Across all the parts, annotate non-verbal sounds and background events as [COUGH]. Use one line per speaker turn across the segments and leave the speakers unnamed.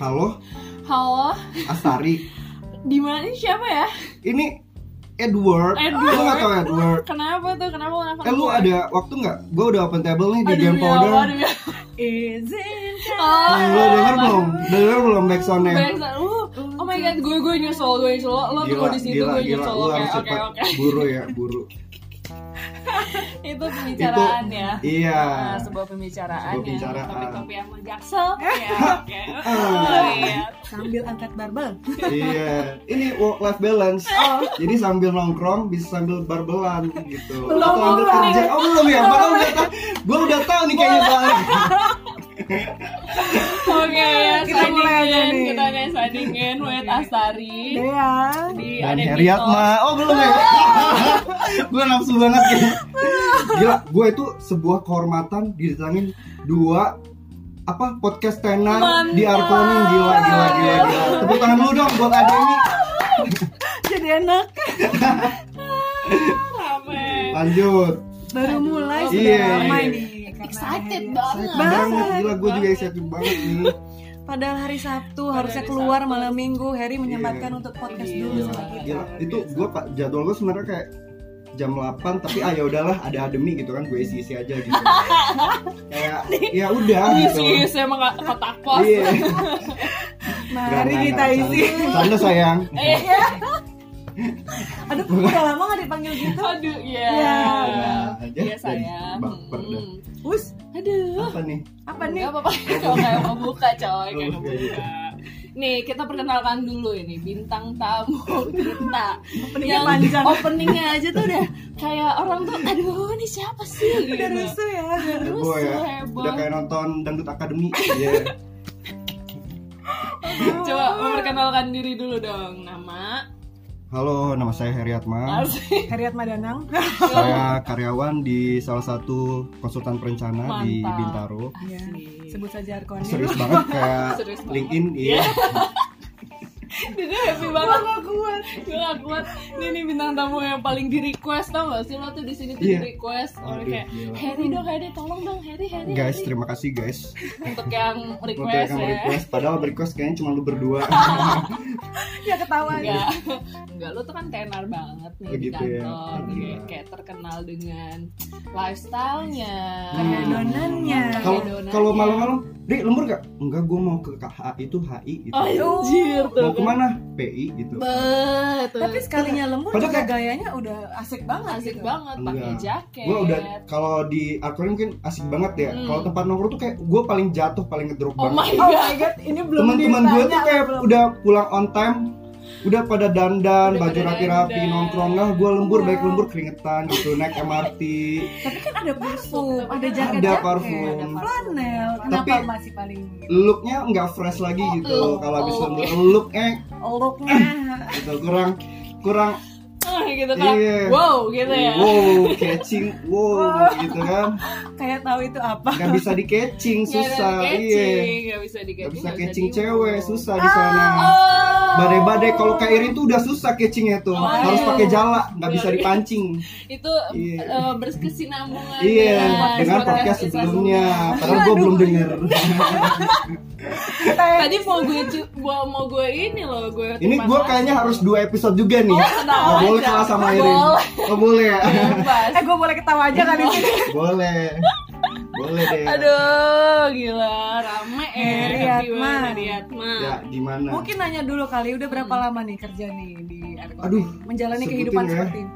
Halo,
Halo,
Astari.
di mana ini siapa ya?
Ini Edward.
Edward.
Lu gak tau Edward?
Kenapa tuh? Kenapa lu nelfon
Eh lu
gue?
ada waktu nggak? Gue udah open table nih di
Aduh,
Game
demi Allah,
Powder.
demi Allah.
Izinkan
Oh,
Nah, lu denger belum? Denger belum backsoundnya?
Bangsa, lu- oh my god, gue gue nyusul, gue nyusul. Lo tunggu di situ,
gila,
gue
gila.
nyusul.
Lu
Oke,
harus
oke,
cepat
oke.
buru ya,
[LAUGHS]
buru.
Itu pembicaraan ya.
Iya.
Nah, sebuah pembicaraan,
Sebuah pembicaraan.
ya. Topik-topik yang
[LAUGHS]
menjaksel. ya, oke.
Ah.
Oh, iya.
sambil angkat barbel.
[LAUGHS] Iya. Ini work life balance.
Oh.
Jadi sambil nongkrong bisa sambil barbelan gitu.
Belum,
Atau ambil
belum.
kerja. Oh belum ya? Padahal udah tahu. Gue udah tahu nih kayaknya soalnya.
Oke, ya,
Kita mulai aja
sandingin,
nih.
Kita guys sandingin with Astari.
Dea.
Di
Dan
Iya, ada
Heriatma. Oh belum
[LAUGHS]
ya? gue nafsu banget ya. Gila, gue itu sebuah kehormatan didatangin dua apa podcast tenar di
Mantap.
Arkoning gila gila gila gila. Tepuk tangan dulu dong buat ada ini.
Jadi enak.
Beatles. Rame.
Lanjut.
Baru mulai
Iya,
sudah
iya.
lama ini. karena
Excited
hari-
banget.
Excited banget gila gue juga excited banget nih.
Padahal hari Sabtu harusnya
hari
keluar malam Minggu. Harry menyempatkan
Iya.
untuk podcast
Iya.
dulu sama kita. Nah,
Gila, itu gue pak jadwal gue sebenarnya kayak jam 8 tapi ah ya udahlah ada ademi gitu kan gue isi isi aja
[LAUGHS]
gitu kayak ya udah gitu
Isi, saya emang gak kotak pos.
iya
Mari kita
Nggak, nggak,
isi.
canda. canda sayang
Iya.
Aduh, udah lama gak dipanggil gitu.
Aduh, iya.
Ya,
aja
Iya, sayang.
baper dah
Hmm.
Us,
Aduh.
apa nih
apa nih?
Gak apa-apa, [LAUGHS] kalau kayak mau buka coy, kayak
Oh,
mau
iya, iya.
buka. Nih, kita perkenalkan dulu ini bintang [LAUGHS] tamu kita.
Openingnya panjang.
Openingnya aja tuh udah kayak orang tuh, aduh ini siapa sih?
Udah
Gitu.
rusuh ya.
heboh ya
heboh.
udah kayak nonton dangdut akademi Iya.
Coba memperkenalkan diri dulu dong, nama,
halo nama saya Heriatma
asik,
Heriat Madanang.
saya karyawan di salah satu konsultan perencana di
Mantap.
Bintaro
Ya,
asik.
sebut saja Arkoni.
serius banget kayak
[LAUGHS] Serius banget.
LinkedIn iya
Dia happy banget gak kuat Gue gak kuat Ini nih bintang tamu yang paling di request tau gak sih Lo tuh di sini tuh
Iya.
di request Orang
Aduh,
kayak
gila.
Harry dong Harry tolong dong Harry Harry
guys
Harry."
terima kasih guys
Untuk yang
Untuk
request
yang
ya
request, padahal request kayaknya cuma lu
[LAUGHS]
berdua.
Ya ketawa aja.
Enggak, enggak lo tuh kan tenar banget nih
Oh,
di
gitu ya.
kantor
Oh,
Kayak-
iya.
Kayak terkenal dengan lifestyle-nya
Hmm.
Hedonannya.
Kalau
Hedonannya.
kalau malam-malam, Ri lembur gak? Enggak, gue mau ke KH itu HI gitu.
Oh, iya. Anjir tuh
mau
kan.
kemana? PI gitu.
Betul
Tapi sekalinya lembur
Padahal
juga
kayak-
gayanya udah asik banget
Asik
gitu.
banget pakai jaket
Gue udah kalau di akuarium mungkin asik banget ya.
Hmm.
Kalau tempat nongkrong tuh kayak gue paling jatuh, paling ngedrop
Oh my
banget.
Oh
god
my god, ini belum
Teman-teman gue tuh
ditanya,
kayak
belum.
udah pulang on time, udah pada dandan,
Udah
baju
pada
rapi-rapi,
dandan.
nongkrong lah. Gue lembur,
Iya.
baik lembur keringetan gitu, naik MRT.
Tapi kan ada parfum,
Tapi
ada
kan
jaket
ada
jaket,
parfum.
ada flanel. Kenapa
Tapi-
masih paling
Looknya nggak fresh lagi
Oh,
gitu.
look,
kalau habis
oh.
lembur, looknya
looknya?
gitu kurang kurang
Ah, gitu kan
Iya.
wow gitu ya
wow catching wow gitu kan
[LAUGHS] kayak tahu itu apa?
nggak bisa di catching susah
Nggak ada
iya
catching, nggak bisa di
nggak
catching,
bisa
nggak
catching
di- Ah,
cewek susah di sana
Oh.
badai-badai kalau kayak Irin tuh udah susah catchingnya tuh
Oh.
harus pakai jala nggak bisa
Iya.
dipancing
Itu
Iya.
eh, berkesinambungan.
iya
ya,
dengan
podcast
podcast
kita
sebelumnya
sebelumnya.
padahal gue belum denger [LAUGHS]
Tadi mau gue cu- gua- mau gue ini loh, gue
ini gue kayaknya harus dua episode juga nih nggak boleh
aja.
kalah sama Irin
Boleh.
oh boleh ya [LAUGHS]
bebas.
[LAUGHS] eh gue boleh ketawa aja
Nah.
kan ini?
boleh boleh deh
Aduh, gila rame eh.
Heriatma.
Riatma.
Iya. ya gimana
Mungkin nanya dulu kali, udah berapa lama nih kerja nih di Arkoni?
Hmm. Aduh,
menjalani
sebutin
kehidupan
ya.
seperti ini.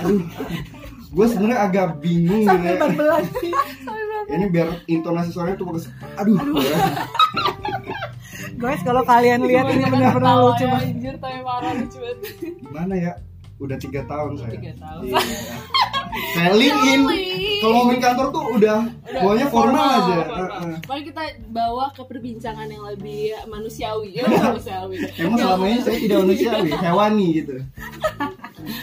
aduh gue sebenarnya agak bingung
Sampai
ya.
barbelan.
ini biar intonasi suaranya tuh bagus aduh,
[LAUGHS]
[LAUGHS]
Guys, kalau kalian lihat ini benar-benar lucu
Ketawa ya,
banget.
Anjir, tapi parah lucu banget.
gimana ya udah tiga tahun saya
Tiga tahun.
Iya. kayak LinkedIn
Sorry.
kalau ngomongin kantor tuh udah maunya formal aja Heeh.
Mari kita bawa ke perbincangan yang lebih
[LAUGHS]
manusiawi. Ya, manusiawi.
emang selama ini saya tidak manusiawi hewani gitu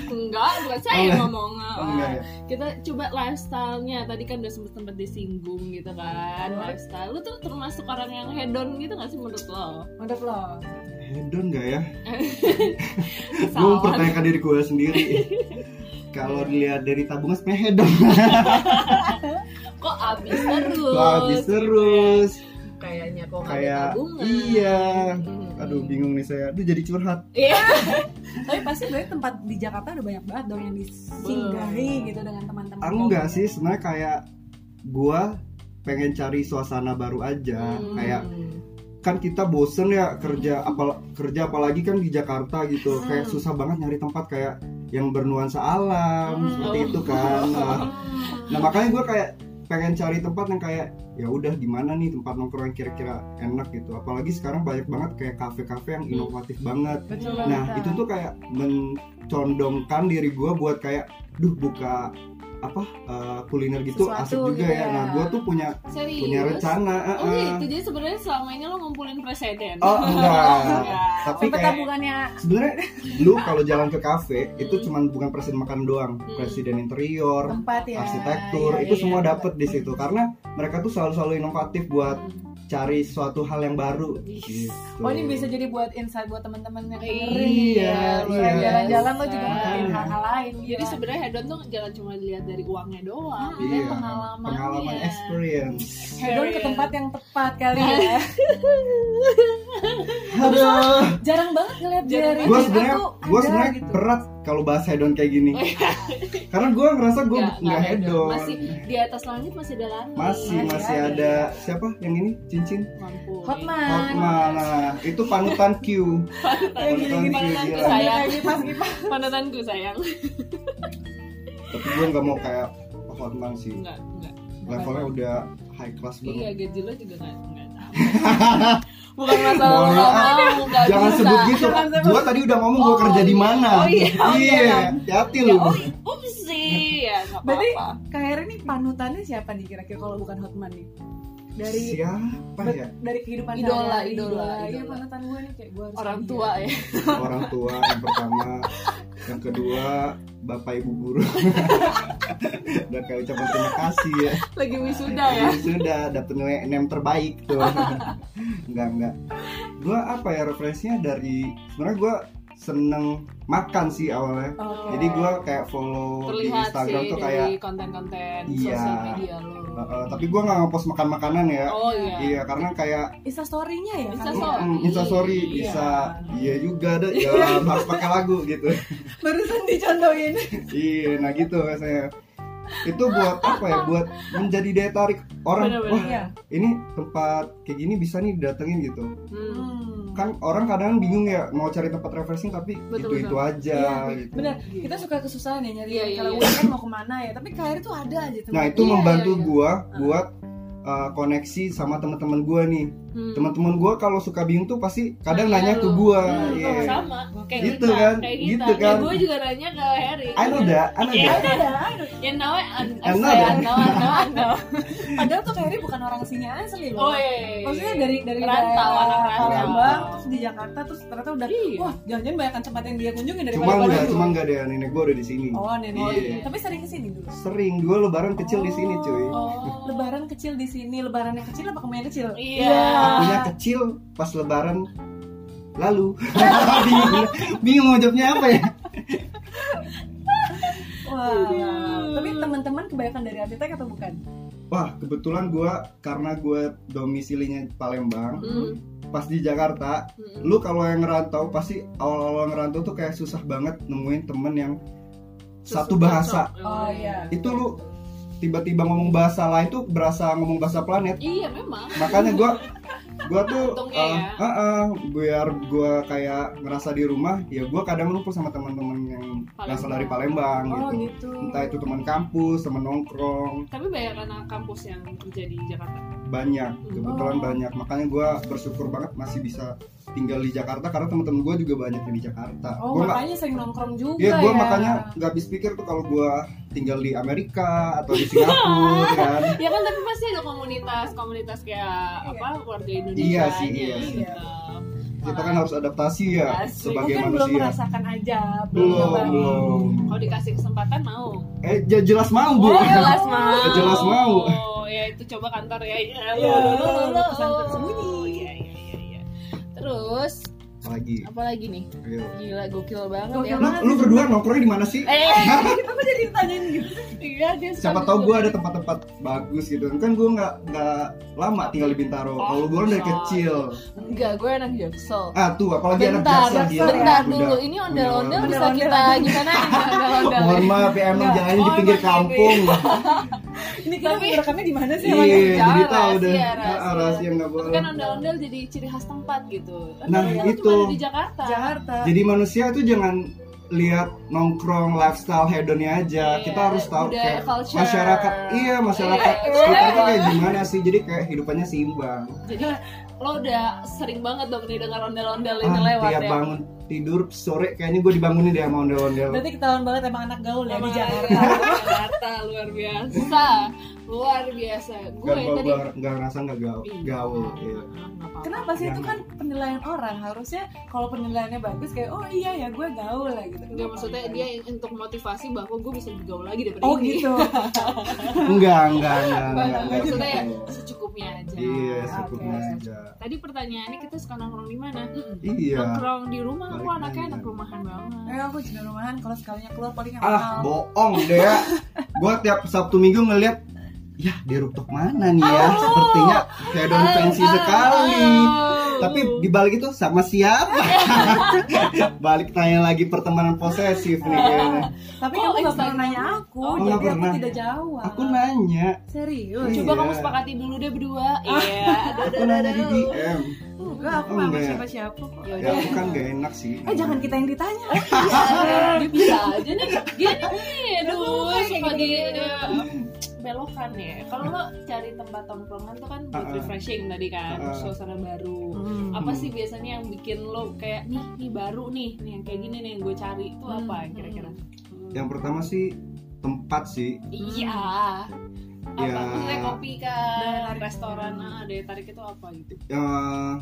Enggak, bukan saya yang ngomong.
Oh, enggak ya.
Kita coba lifestyle-nya. Tadi kan udah sempet sempet disinggung gitu kan,
Iya.
lifestyle. Lu tuh termasuk orang yang hedon gitu gak sih menurut lo?
Mantap loh.
hedon gak [LAUGHS] ya gue
Salah.
mempertanyakan diri gue sendiri kalau dilihat dari tabungan sebenarnya hedon
Kok abis terus?
habis terus
kayaknya kok nggak ada
kayak
tabungan
iya
Mm-mm.
aduh bingung nih saya aduh jadi curhat
iya
Tapi pasti banyak tempat di Jakarta ada banyak banget dong yang disinggahi gitu dengan teman-teman.
Ah, enggak sih sebenarnya kayak gua pengen cari suasana baru aja
Hmm.
kayak kan kita bosen ya kerja apal kerja apalagi kan di Jakarta gitu kayak susah banget nyari tempat kayak yang bernuansa alam
Hmm.
seperti itu kan
[LAUGHS]
nah, nah, makanya gue kayak pengen cari tempat yang kayak ya udah di mana nih tempat nongkrong yang kira-kira enak gitu apalagi sekarang banyak banget kayak kafe-kafe yang inovatif banget
Betul banget.
nah itu tuh kayak mencondongkan diri gue buat kayak duh buka apa eh, kuliner gitu
Sesuatu
asik
gitu
juga ya
ya.
nah gue tuh punya
Serius?
punya rencana eh,
Oh
eh.
gitu, jadi sebenarnya selama ini lo ngumpulin presiden [LAUGHS]
Oh enggak.
Enggak.
Tapi
Sampai
kayak
tabungannya
sebenarnya [LAUGHS] lu kalau jalan ke kafe itu
Hmm.
cuman bukan presiden makan doang,
Hmm.
presiden interior,
tempat ya.
arsitektur,
Iya,
itu
iya,
semua
iya.
dapet di situ karena mereka tuh selalu-selalu inovatif buat cari suatu hal yang baru.
Yes.
Gitu.
Oh ini bisa jadi buat insight buat teman-teman yang dengerin.
Iya,
ya,
iya.
Selain Jalan-jalan lo juga
Makanya.
ngelakuin hal-hal lain.
Jadi sebenarnya hedon tuh jangan cuma dilihat dari uangnya doang, ada
Iya,
pengalamannya.
pengalaman
Iya.
experience.
hedon ke tempat yang tepat kali
[LAUGHS]
ya.
Aduh,
Jarang banget ngeliat
Jarang
jari.
gue sebenarnya
gitu Aku
gue
ada
sebenarnya
gitu. Oh, iya.
berat kalau bahas hedon kayak gini. Karena gue ngerasa gue
Nggak,
nggak
nggak
hedon.
Masih di atas langit masih ada langit.
Masih
Masih
masih
ada. ya.
ada siapa yang ini cincin?
Mampu.
Hotman.
Hotman. Nah, itu panutan Q.
Yang gini-gini.
Panutan Q
Panutan Q,
gila.
sayang.
Kayak kipas kipas.
Panutanku sayang.
tapi gue nggak mau kayak Hotman sih
Enggak, enggak.
levelnya udah high class
Iya,
banget
gaji lo juga enggak enggak
[LAUGHS]
tahu. Bukan masalah lo
Mohon
nggak
maaf.
mau, enggak
jangan
bisa.
sebut gitu
Jangan sebut.
gue tadi udah ngomong gue
Oh,
kerja di
iya.
mana
Oh, iya. Oh,
iya
iya.
hati-hati
Ya,
lu
oh, upsi. Ya, enggak
Berarti
apa-apa.
KR ini panutannya siapa nih kira-kira kalau bukan Hotman nih? Dari
siapa
ber-
ya
dari kehidupan
Idola,
sehari-hari,
idola,
Iya
idola.
panutan gue nih kayak gue harus
Orang
jadi
tua
Iya.
ya.
orang tua yang pertama yang kedua bapak ibu
[LAUGHS]
guru dan kayak ucapan terima kasih ya
[LAUGHS] Lagi wisuda ya.
Ini sudah dapet nilai enam terbaik
[LAUGHS]
tuh enggak enggak gue apa ya referensinya dari sebenarnya gue seneng makan sih awalnya
Oke.
Jadi gue kayak follow di
Oh. Terlihat
Instagram
sih
tuh
dari
kayak
konten-konten
Iya.
sosial media lo.
eh, eh, tapi gue nggak ngepost makan makanan ya.
Oh iya.
Iya karena kayak
Insta story-nya ya. kan?
Instastory. Sorry.
mm, instastory
Iya.
bisa iya juga ada
[LAUGHS]
ya [LAUGHS] harus pakai lagu gitu.
Barusan dicontohin.
iya nah gitu saya itu buat apa ya buat menjadi daya tarik orang
Bener-bener.
wah
Iya.
ini tempat kayak gini bisa nih datengin gitu
Hmm.
kan orang kadang bingung ya mau cari tempat refreshing tapi itu
Betul,
itu aja
Iya,
gitu.
Bener, kita suka kesusahan ya nyari
Iya, iya,
kalau
iya.
weekend mau kemana ya tapi KRI tuh ada aja tempat
nah itu
Iya,
membantu
iya, iya.
gua buat uh, koneksi sama teman-teman gua nih
Hmm.
teman-teman gue kalau suka bingung tuh pasti kadang nanya
Nanya
ke
lu.
gue
Hmm,
iya
sama kayak
Gitu
kita,
kan,
kayak
gitu
kita.
kan.
gue juga nanya ke Harry.
I know that, I know
Iya.
that.
Ya now I un- I
I know
say
that.
I know, I know, I
[LAUGHS]
know.
padahal tuh KRI bukan orang sini asli loh
Oh iya, iya. iya.
maksudnya dari dari
rantau
daerah
anak rantau.
Palembang terus di Jakarta terus ternyata udah
Iya.
wah jangan-jangan banyak tempat yang dia kunjungi
cuma
daripada
enggak
Bandung.
cuma enggak deh nenek gue udah di sini
oh nenek
Iya.
tapi sering kesini dulu
sering gue lebaran kecil di sini cuy
Oh.
lebaran kecil di sini lebaran yang kecil apa kemarin kecil
Iya.
akunya kecil pas lebaran lalu [LAUGHS] bingung bingung mau jawabnya apa ya
wah
Iya.
tapi teman-teman kebanyakan dari arsitek atau bukan
wah kebetulan gue karena gue domisilinya Palembang
Hmm.
pas di Jakarta
Hmm.
lu kalau yang ngerantau pasti awal-awal ngerantau tuh kayak susah banget nemuin temen yang satu bahasa
oh iya
itu lu tiba-tiba ngomong bahasa lain tuh berasa ngomong bahasa planet
Iya memang.
makanya gua gua tuh
Untungnya
eh,
ya.
eh, eh, biar gua kayak ngerasa di rumah ya gua kadang lupa sama teman-teman yang berasal dari Palembang
oh
gitu
gitu
entah itu teman kampus teman nongkrong
Tapi banyak anak kampus yang kerja di Jakarta.
banyak kebetulan
Oh.
banyak makanya gua bersyukur banget masih bisa tinggal di Jakarta karena teman-teman gua juga banyak yang di Jakarta
oh
Gua nggak-
makanya sering nongkrong juga
Iya,
ya
gua makanya nggak habis pikir tuh kalau gua tinggal di Amerika atau di Singapura
[LAUGHS]
kan.
Ya kan tapi pasti ada komunitas, komunitas kayak apa warga
Iya
Indonesia
sih, iya
gitu.
sih. Kita kan harus adaptasi ya
Asik.
sebagai
mungkin kan belum
manusia.
merasakan aja
Belum,
nyobain. [LAUGHS]
belum.
Kalau dikasih kesempatan mau.
Eh, j- jelas mau, Bu.
Oh, jelas mau.
Ya, jelas mau.
Oh, ya itu coba kantor ya. Iya,
Iya,
lo,
pesan tersembunyi.
Iya, iya, iya, iya. Terus
Lagi.
apa lagi nih?
Ayo.
Gila gokil banget
Gokil
ya.
Lu, lu berdua nongkrongnya di mana sih?
Eh,
Kita kok jadi sih ditanyain gitu
Iya, dia
siapa
suka
tahu gue
gitu.
ada tempat-tempat bagus gitu kan gue nggak nggak lama tinggal di Bintaro
Oh,
kalau gue kan dari
bisa.
kecil
Enggak, gue anak Jaksel.
ah tuh apalagi anak
Bentar,
jasa gila
bentar
udah,
dulu. Ini
udah.
ondel-ondel bisa
Ondel-ondel.
kita gimana? Ondel-ondel.
mohon maaf ya emang
Nggak,
jalannya di
oh,
pinggir
emang
[LAUGHS]
kampung
ini kita
Tapi-
merekamnya di mana sih emang
iya jadi
Rahasia,
tahu deh
rahasia,
Ah,
rahasia.
rahasia nggak
Tapi
boleh
kan ondel-ondel jadi ciri khas tempat gitu.
Nah,
Ondel-ondel
itu.
cuma ada di Jakarta.
Jakarta
jadi manusia itu jangan lihat nongkrong lifestyle hedonnya aja
Iya,
kita harus tahu
budaya,
kayak
culture.
masyarakat iya masyarakat
Iya,
kita
iya.
tuh kayak gimana sih jadi kayak hidupannya seimbang
Jadi lo udah sering banget dong nih dengar ondel-ondel ini
ah,
lewat
tiap
ya.
bangun tidur sore kayaknya gue dibangunin deh sama ondel-ondel
berarti ketahuan banget emang anak gaul ya di
Emang
Jakarta
iya. Jakarta luar biasa. Luar biasa. Gue
Gak
tadi
gak gak ngerasa gak gaul,
Iya.
gaul. iya.
Ah, nggak apa-apa.
Kenapa sih itu kan penilaian orang harusnya kalau penilaiannya bagus kayak oh iya ya gue gaul lah gitu.
Enggak maksudnya dia untuk motivasi bahwa gue bisa bergaul lagi daripada
Oh
[LAUGHS] ini.
gitu.
Enggak, enggak, enggak, enggak, enggak,
maksudnya ya
Nah, gitu.
secukupnya aja.
Iya, secukupnya
Oke.
aja.
Tadi pertanyaannya kita suka nongkrong di mana?
Iya.
Nongkrong di rumah aku
Balik
anaknya
lagi.
anak rumahan banget.
Eh aku juga rumahan kalau sekalinya keluar paling yang
Ah,
mahal.
bohong deh. Gua tiap Sabtu Minggu ngeliat ya di rooftop mana nih
Oh.
ya? Sepertinya kayak daun pensi sekali. Tapi dibalik itu sama siapa? [LAUGHS] balik tanya lagi pertemanan posesif nih kayaknya.
Tapi
Oh,
kamu nggak pernah
Instagram.
nanya aku,
Oh,
nggak
jadi
pernah.
aku tidak jawab.
Aku nanya,
serius.
Iya.
coba kamu sepakati dulu deh
[LAUGHS]
berdua. Iya, aduh
aku
aduh
nanya di
aduh.
DM.
Enggak, aku
Oh,
nggak sama
enggak.
siapa-siapa kok.
Ya
Ya udah.
aku kan gak enak sih.
Eh jangan kita yang ditanya.
Oh, iya. [LAUGHS] Dia bisa aja nih Gini nih Aduh
Kayak
Sebagai
gini.
eh, Belokan ya Kalau lo cari tempat tongkrongan tuh kan buat
Ah, ah.
refreshing tadi kan
Ah, ah.
Suasana baru
Hmm.
Apa sih biasanya yang bikin lo kayak Nih, nih baru nih Nih yang kayak gini nih yang gue cari Itu apa
Hmm.
kira-kira
Yang pertama sih tempat sih.
Iya Apa
Ya.
Maksudnya kopi
Daya
kan
tarik.
Restoran ah, Daya tarik itu apa gitu
Eh,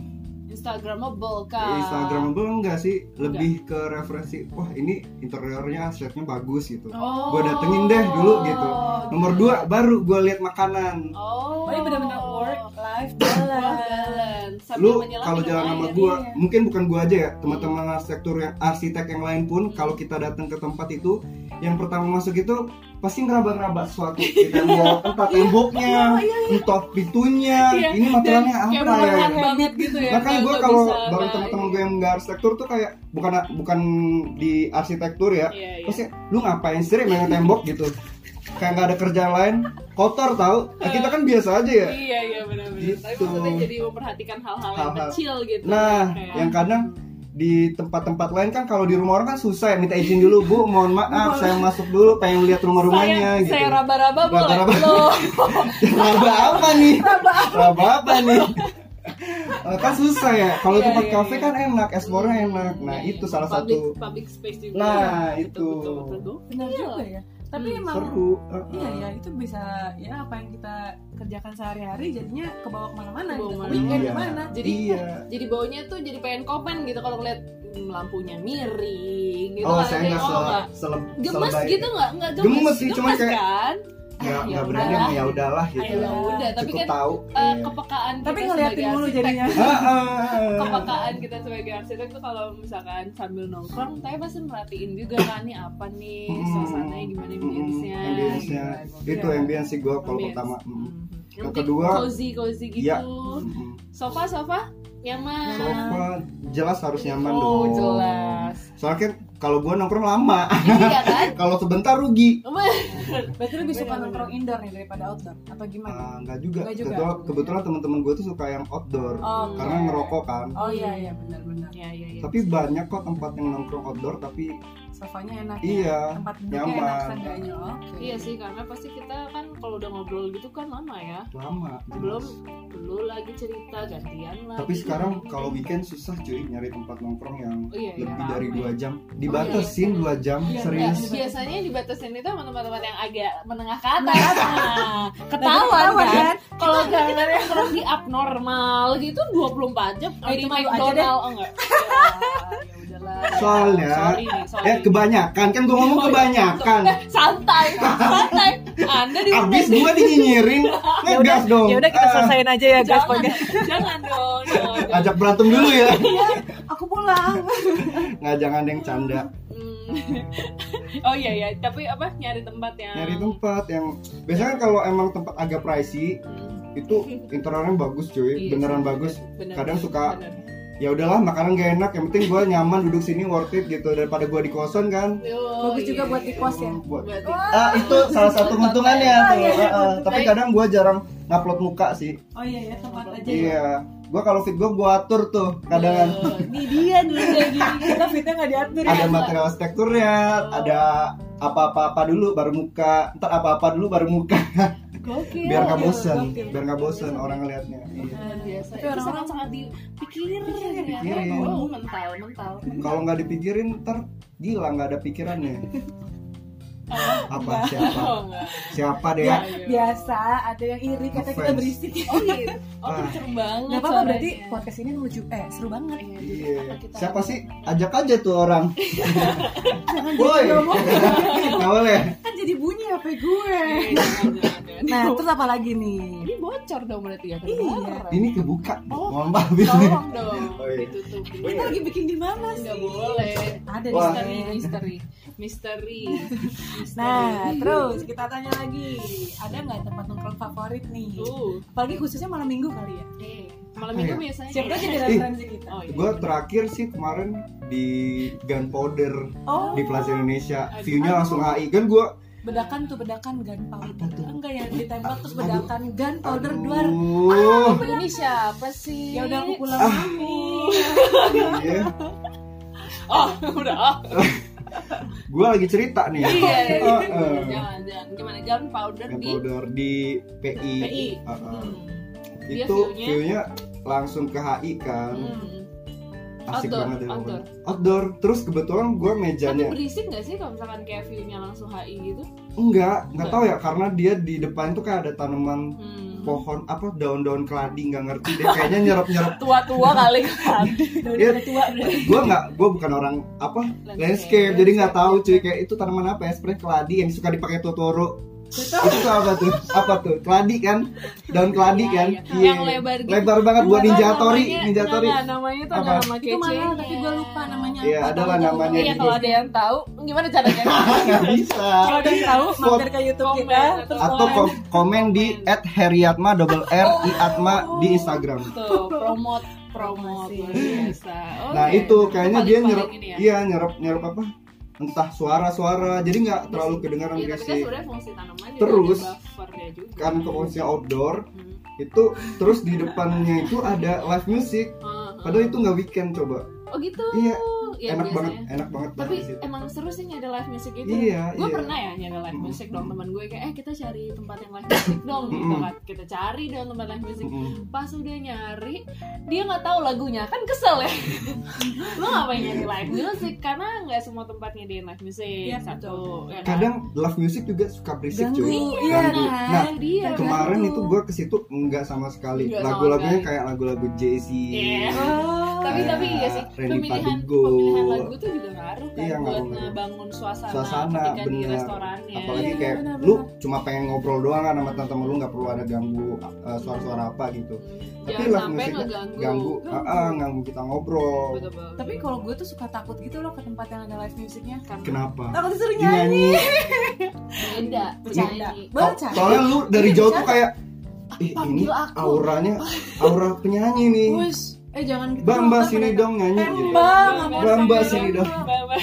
Instagramable kan
Instagramable enggak sih lebih ke referensi wah ini interiornya asetnya bagus gitu
oh.
Gua datengin deh dulu gitu. nomor dua baru gue lihat makanan
Oh
Oh, ini benar-benar work life balance.
balance. Sambil
lu
menyelam
kalau
minum
jalan sama
air.
gue
iya.
mungkin bukan gue aja
Hmm.
ya teman-teman arsitektur yang arsitek yang lain pun kalau kita datang ke tempat itu yang pertama masuk itu pasti ngeraba-ngeraba sesuatu di
[LAUGHS]
tembok entah temboknya entah pintunya
Iya,
kan ini materialnya
kayak
apa ya
murahan banget gitu ya
Makanya
kalau
gue
gua
kalau
bisa
bareng ya,
nggak- gitu.
teman-teman gue yang nggak arsitektur tuh kayak bukan bukan di arsitektur ya,
Iya, iya.
Terus ya, lu ngapain sih Rik, main tembok gitu? Kayak nggak ada kerjaan lain, kotor tau? Nah, kita kan biasa aja ya.
iya iya benar-benar tapi
Gitu.
maksudnya jadi memperhatikan hal-hal yang
Hal-hal.
kecil gitu
Nah,
Kayak-
yang kadang di tempat-tempat lain kan kalau di rumah orang kan susah ya minta izin dulu bu mohon maaf saya masuk dulu pengen lihat rumah-rumahnya
saya,
gitu
saya
[LAUGHS]
raba-raba boleh
Raba-raba.
Loh.
raba apa
[LAUGHS]
nih raba apa nih Eh, kan susah ya kalau
Iya,
tempat
iya,
kafe
iya.
kan enak ekspornya enak [LAUGHS] nah
Iya,
itu
iya.
salah
public,
satu
public space juga
Nah,
Betul,
itu.
betul, betul, betul.
Benar
Iya.
juga ya. Tapi
Hmm,
emang
seru Uh-uh.
Iya ya itu bisa ya apa yang kita kerjakan sehari-hari jadinya kebawa kemana-mana
Kebawa
gitu. Ke
kemana-mana.
Weekend
Iya.
kemana?
jadi
Iya.
jadi baunya tuh jadi pengen komen gitu kalau ngeliat hmm, lampunya miring gitu
oh
kan.
saya
Jadi,
nggak
oh,
sele-
nggak.
sele-
gemes
selebay.
gitu nggak nggak gemes
Gemes sih, cuman kayak-
kan
nggak
Ah,
nggak
ya
berani
udah.
ya udahlah gitu
Ayo udah tapi
cukup
kan
tahu
eh,
iya.
kepekaan
Tapi
kita
ngeliatin
sebagai
mulu
arsitek-
jadinya.
Ah, ah, ah.
kepekaan kita sebagai arsitek tuh kalau misalkan sambil nongkrong saya pasti merhatiin juga kan nih apa nih
Mm,
suasananya gimana
mm,
ambience-nya
ambience-nya.
gitu.
itu
Iya.
ambience sih gue kalau
Ambience.
pertama Mm.
Mhm.
Yang
Nanti
kedua,
cozy cozy gitu
iya. Mm.
sofa sofa nyaman
sofa jelas harus nyaman
oh
dong
jelas
soalnya kan kalau gue nongkrong
[LAUGHS]
lama
iya kan
kalau sebentar rugi
Berarti lebih suka
Benar-benar.
nongkrong indoor nih daripada outdoor atau gimana?
Ah, nggak juga,
Nggak juga.
Kebetulan- kebetulan teman-teman gue tuh suka yang outdoor
Oh,
Oke.
karena ngerokok kan
Oh iya iya benar-benar.
ya ya ya
tapi banyak kok tempat yang nongkrong outdoor tapi
Sofanya enak. ya?
iya
Tempat duduknya enak
nyaman.
seenggaknya. Oke.
Iya sih karena pasti kita kan kalau udah ngobrol gitu kan lama ya
lama
belum
jelas.
lu lagi cerita gantian lagi
tapi sekarang kalau weekend susah cuy nyari tempat nongkrong yang
Oh, iya, iya,
lebih dari
rame.
dua jam
iya.
dibatasin dua jam
Iya,
Nggak,
serius
Nah, biasanya yang dibatasin itu sama teman-teman yang agak menengah ke atas nah, ketahuan
Ketahuan,
kan
kan? Kita
kalau kita
nggak ada.
nongkrong di abnormal gitu 24 jam
Oh,
kayak di
itu malu aja
McDonald oh [LAUGHS] enggak ya, ya udahlah
Soalnya-
sorry nih sorry
eh kebanyakan kan gue ngomong kebanyakan
Eh, [LAUGHS] santai santai anda di
abis gue dinyinyirin ngegas
Oh.
dong
Ya udah kita
Ah,
selesaiin aja ya guys
jangan
podcast.
jangan
[LAUGHS]
dong jangan, jangan.
ajak berantem dulu ya
Aku pulang.
nggak jangan yang canda
Hmm, [LAUGHS] oh iya ya tapi apa nyari tempat yang
nyari tempat yang biasanya kan kalau emang tempat agak pricey
Hmm,
itu interiornya bagus cuy
iya
beneran
sih,
bagus
bener,
kadang suka-
bener.
ya udahlah makanan gak enak yang penting gue nyaman duduk sini worth it gitu daripada gue di kosan kan
Oh,
Bagus juga
iya,
buat
iya.
di kos ya.
buat
Buat di-
Wah.
Ah itu salah satu keuntungannya tuh.
iya.
Ah, ah. Tapi
Baik.
kadang gue jarang ngupload muka sih.
Oh iya ya tempat aja. Iya. ya.
Iya. Gue kalau fit gue gue atur tuh. Kadang
Oh, Ini dia dulu kayak [LAUGHS] gini.
Kita fitnya nggak diatur ya.
kan? ada material teksturnya, ada apa-apa dulu baru muka. Ntar apa-apa dulu baru muka. [LAUGHS]
Gokil.
Biar nggak
Iya,
bosen,
gokil.
biar nggak bosen orang ngelihatnya. Iya.
Luar Eh, biasa.
Tapi
Itu
orang-orang-
sangat-sangat dipikirin ya.
dipikirin.
Oh, mental, mental.
Kalau nggak dipikirin ntar gila nggak ada
[LAUGHS]
pikirannya. Apa siapa?
Oh, [LAUGHS] enggak. Iya.
Siapa deh?
Ya,
ya?
biasa ada yang iri
Iya.
kata kita
Offense.
berisik.
Oh, gitu. Oh,
Ah.
kenceng banget.
Gak apa-apa
suaranya.
berarti podcast ini lucu eh seru banget.
Iya,
Iya.
kita-
Siapa sih? Ajak aja tuh
[LAUGHS]
orang.
gitu
Woi.
ngomong.
[LAUGHS] Nggak boleh.
Kan jadi bunyi HP gue.
[LAUGHS] Iya, jangan, jangan, jangan.
Nah, terus apa lagi nih?
Ini bocor dong berarti ya.
[LAUGHS] Iya.
kedengaran.
Ini kebuka.
Oh,
Mohon maaf.
Tolong dong.
Oh, iya.
Ditutup.
Kita lagi bikin di mana sih?
Enggak boleh.
Ada di
Wah.
Misteri,
sana.
misteri, misteri. misteri.
Nah, terus kita tanya lagi, ada nggak tempat nongkrong favorit nih?
Tuh.
Apalagi khususnya malam minggu kali ya.
Eh, malam
Apa
minggu
ya?
biasanya.
Siapa tahu jadi
Ih.
referensi kita.
Oh, iya.
Gue terakhir sih kemarin di Gunpowder
Oh,
di Plaza Indonesia.
Aduh.
View-nya langsung AI. Kan gue
bedakan tuh bedakan gunpowder.
Apa tuh?
Enggak ya, ditembak terus
Aduh.
bedakan gunpowder duar.
Aduh.
Ini siapa sih?
Ya udah aku pulang
Ah.
mami.
Ah.
Iya.
Oh, [LAUGHS] udah. ah.
Gue lagi cerita nih. Eh,
Iya.
oh,
Heeh.
Jangan, jangan. Gimana? Jangan powder di Hmm.
Gunpowder di PI.
PI.
Heeh.
Dia
eh. Itu
view-nya-
view-nya langsung ke HI kan.
Hmm.
Asik
Outdoor,
banget ya
outdoor.
pokoknya. Outdoor. Terus kebetulan gue
Tapi
mejanya
berisik gak sih kalau misalkan kayak view-nya langsung HI gitu?
enggak, enggak tahu ya karena dia di depan tuh kayak ada tanaman
Hmm.
pohon apa daun-daun keladi nggak ngerti deh kayaknya nyerap-nyerap [LAUGHS]
Tua-tua kali kan.
Iya.
Udah tua udah.
gue nggak gue bukan orang apa landscape, jadi nggak tahu cuy kayak itu tanaman apa ya sebenarnya keladi yang suka dipakai Totoro itu tuh apa tuh apa tuh keladi kan daun keladi kan Iya.
Yang lebar gitu.
lebar banget buat
Nggak tahu
ninja tori
namanya,
ninja tori
nggak, namanya tuh ada
Apa?
nama kece.
Itu mahal tapi gue lupa namanya.
Iya,
apa.
adalah
Tahu-tahu
namanya
Iya,
gitu.
kalau ada yang tahu, gimana caranya?
[LAUGHS] [LAUGHS] nggak bisa
Kalau ada yang tahu
Vote.
mampir ke YouTube
Komen
kita
atau
terus
atau
komen.
kom- komen di @heriatma double r i
Oh.
atma di Instagram
Tuh, promote, promote luar biasa. Oh, iya. Oke.
nah itu kayaknya dia
Paling-paling
nyerap
ini ya.
iya nyerap nyerap apa entah suara-suara jadi nggak terlalu kedengaran
Iya,
kayak
tapi kan
si
sebenarnya fungsi tanaman ya, juga
Terus,
ada buffernya juga.
kan konsepnya outdoor
Hmm.
itu terus di depannya itu ada live music
Ah, ah.
Padahal itu nggak weekend coba.
Oh gitu.
Iya,
Ya,
enak
biasanya.
banget, enak banget
Tapi
banget di situ.
emang seru sih nyari live music itu.
Iya,
Gue
iya.
pernah ya nyari live
Mm.
music dong teman gue kayak eh kita cari tempat yang
[COUGHS]
live music dong gitu
Mm.
kan. Kita cari dong tempat live music.
Mm-mm.
Pas udah nyari, dia nggak tahu lagunya. Kan kesel ya. [LAUGHS] Lo ngapain nyari live music karena nggak semua tempat nyediain live music.
Iya,
Satu. Ya kan?
Kadang live music juga suka berisik
Ganggu.
cuy.
Iya,
Ganggu.
kan?
Nah,
dia
Ganggu.
kemarin itu gue ke situ nggak sama sekali.
Nggak sama
Lagu-lagunya
sekali.
kayak lagu-lagu Jay-Z.
Iya.
Oh.
tapi
Kayak
tapi iya sih
Randy
pemilihan
Pandugo.
pemilihan lagu tuh juga ngaruh kan
Iya,
buat
ngaruh.
ngebangun suasana,
Suasana,
ketika di
bener.
restorannya
Apalagi
Iya,
kayak
benar-benar.
lu cuma pengen ngobrol doang kan sama teman-teman lu nggak perlu ada ganggu uh, suara-suara apa gitu.
Hmm,
Tapi
jangan
live
sampai
musicnya
ngeganggu
ganggu, ah, ah, ganggu kita ngobrol.
Betul, betul.
Tapi kalau gue tuh suka takut gitu loh ke tempat yang ada live musicnya.
karena
Kenapa?
Takut disuruh nyanyi.
Nyanyi.
beda
Bercanda.
penyanyi.
So-
Bercanda.
Soalnya lu dari
Ini
jauh
bisa.
tuh kayak Ih, ini
Panggil aku.
auranya aura penyanyi nih.
Wes, eh jangan gitu.
Bang, Mbak
Ntar
sini
mereka-
dong nyanyi
Eh,
gitu.
Mbak,
Bamba,
Bamba
Bamba,
sini dong.
Bamba.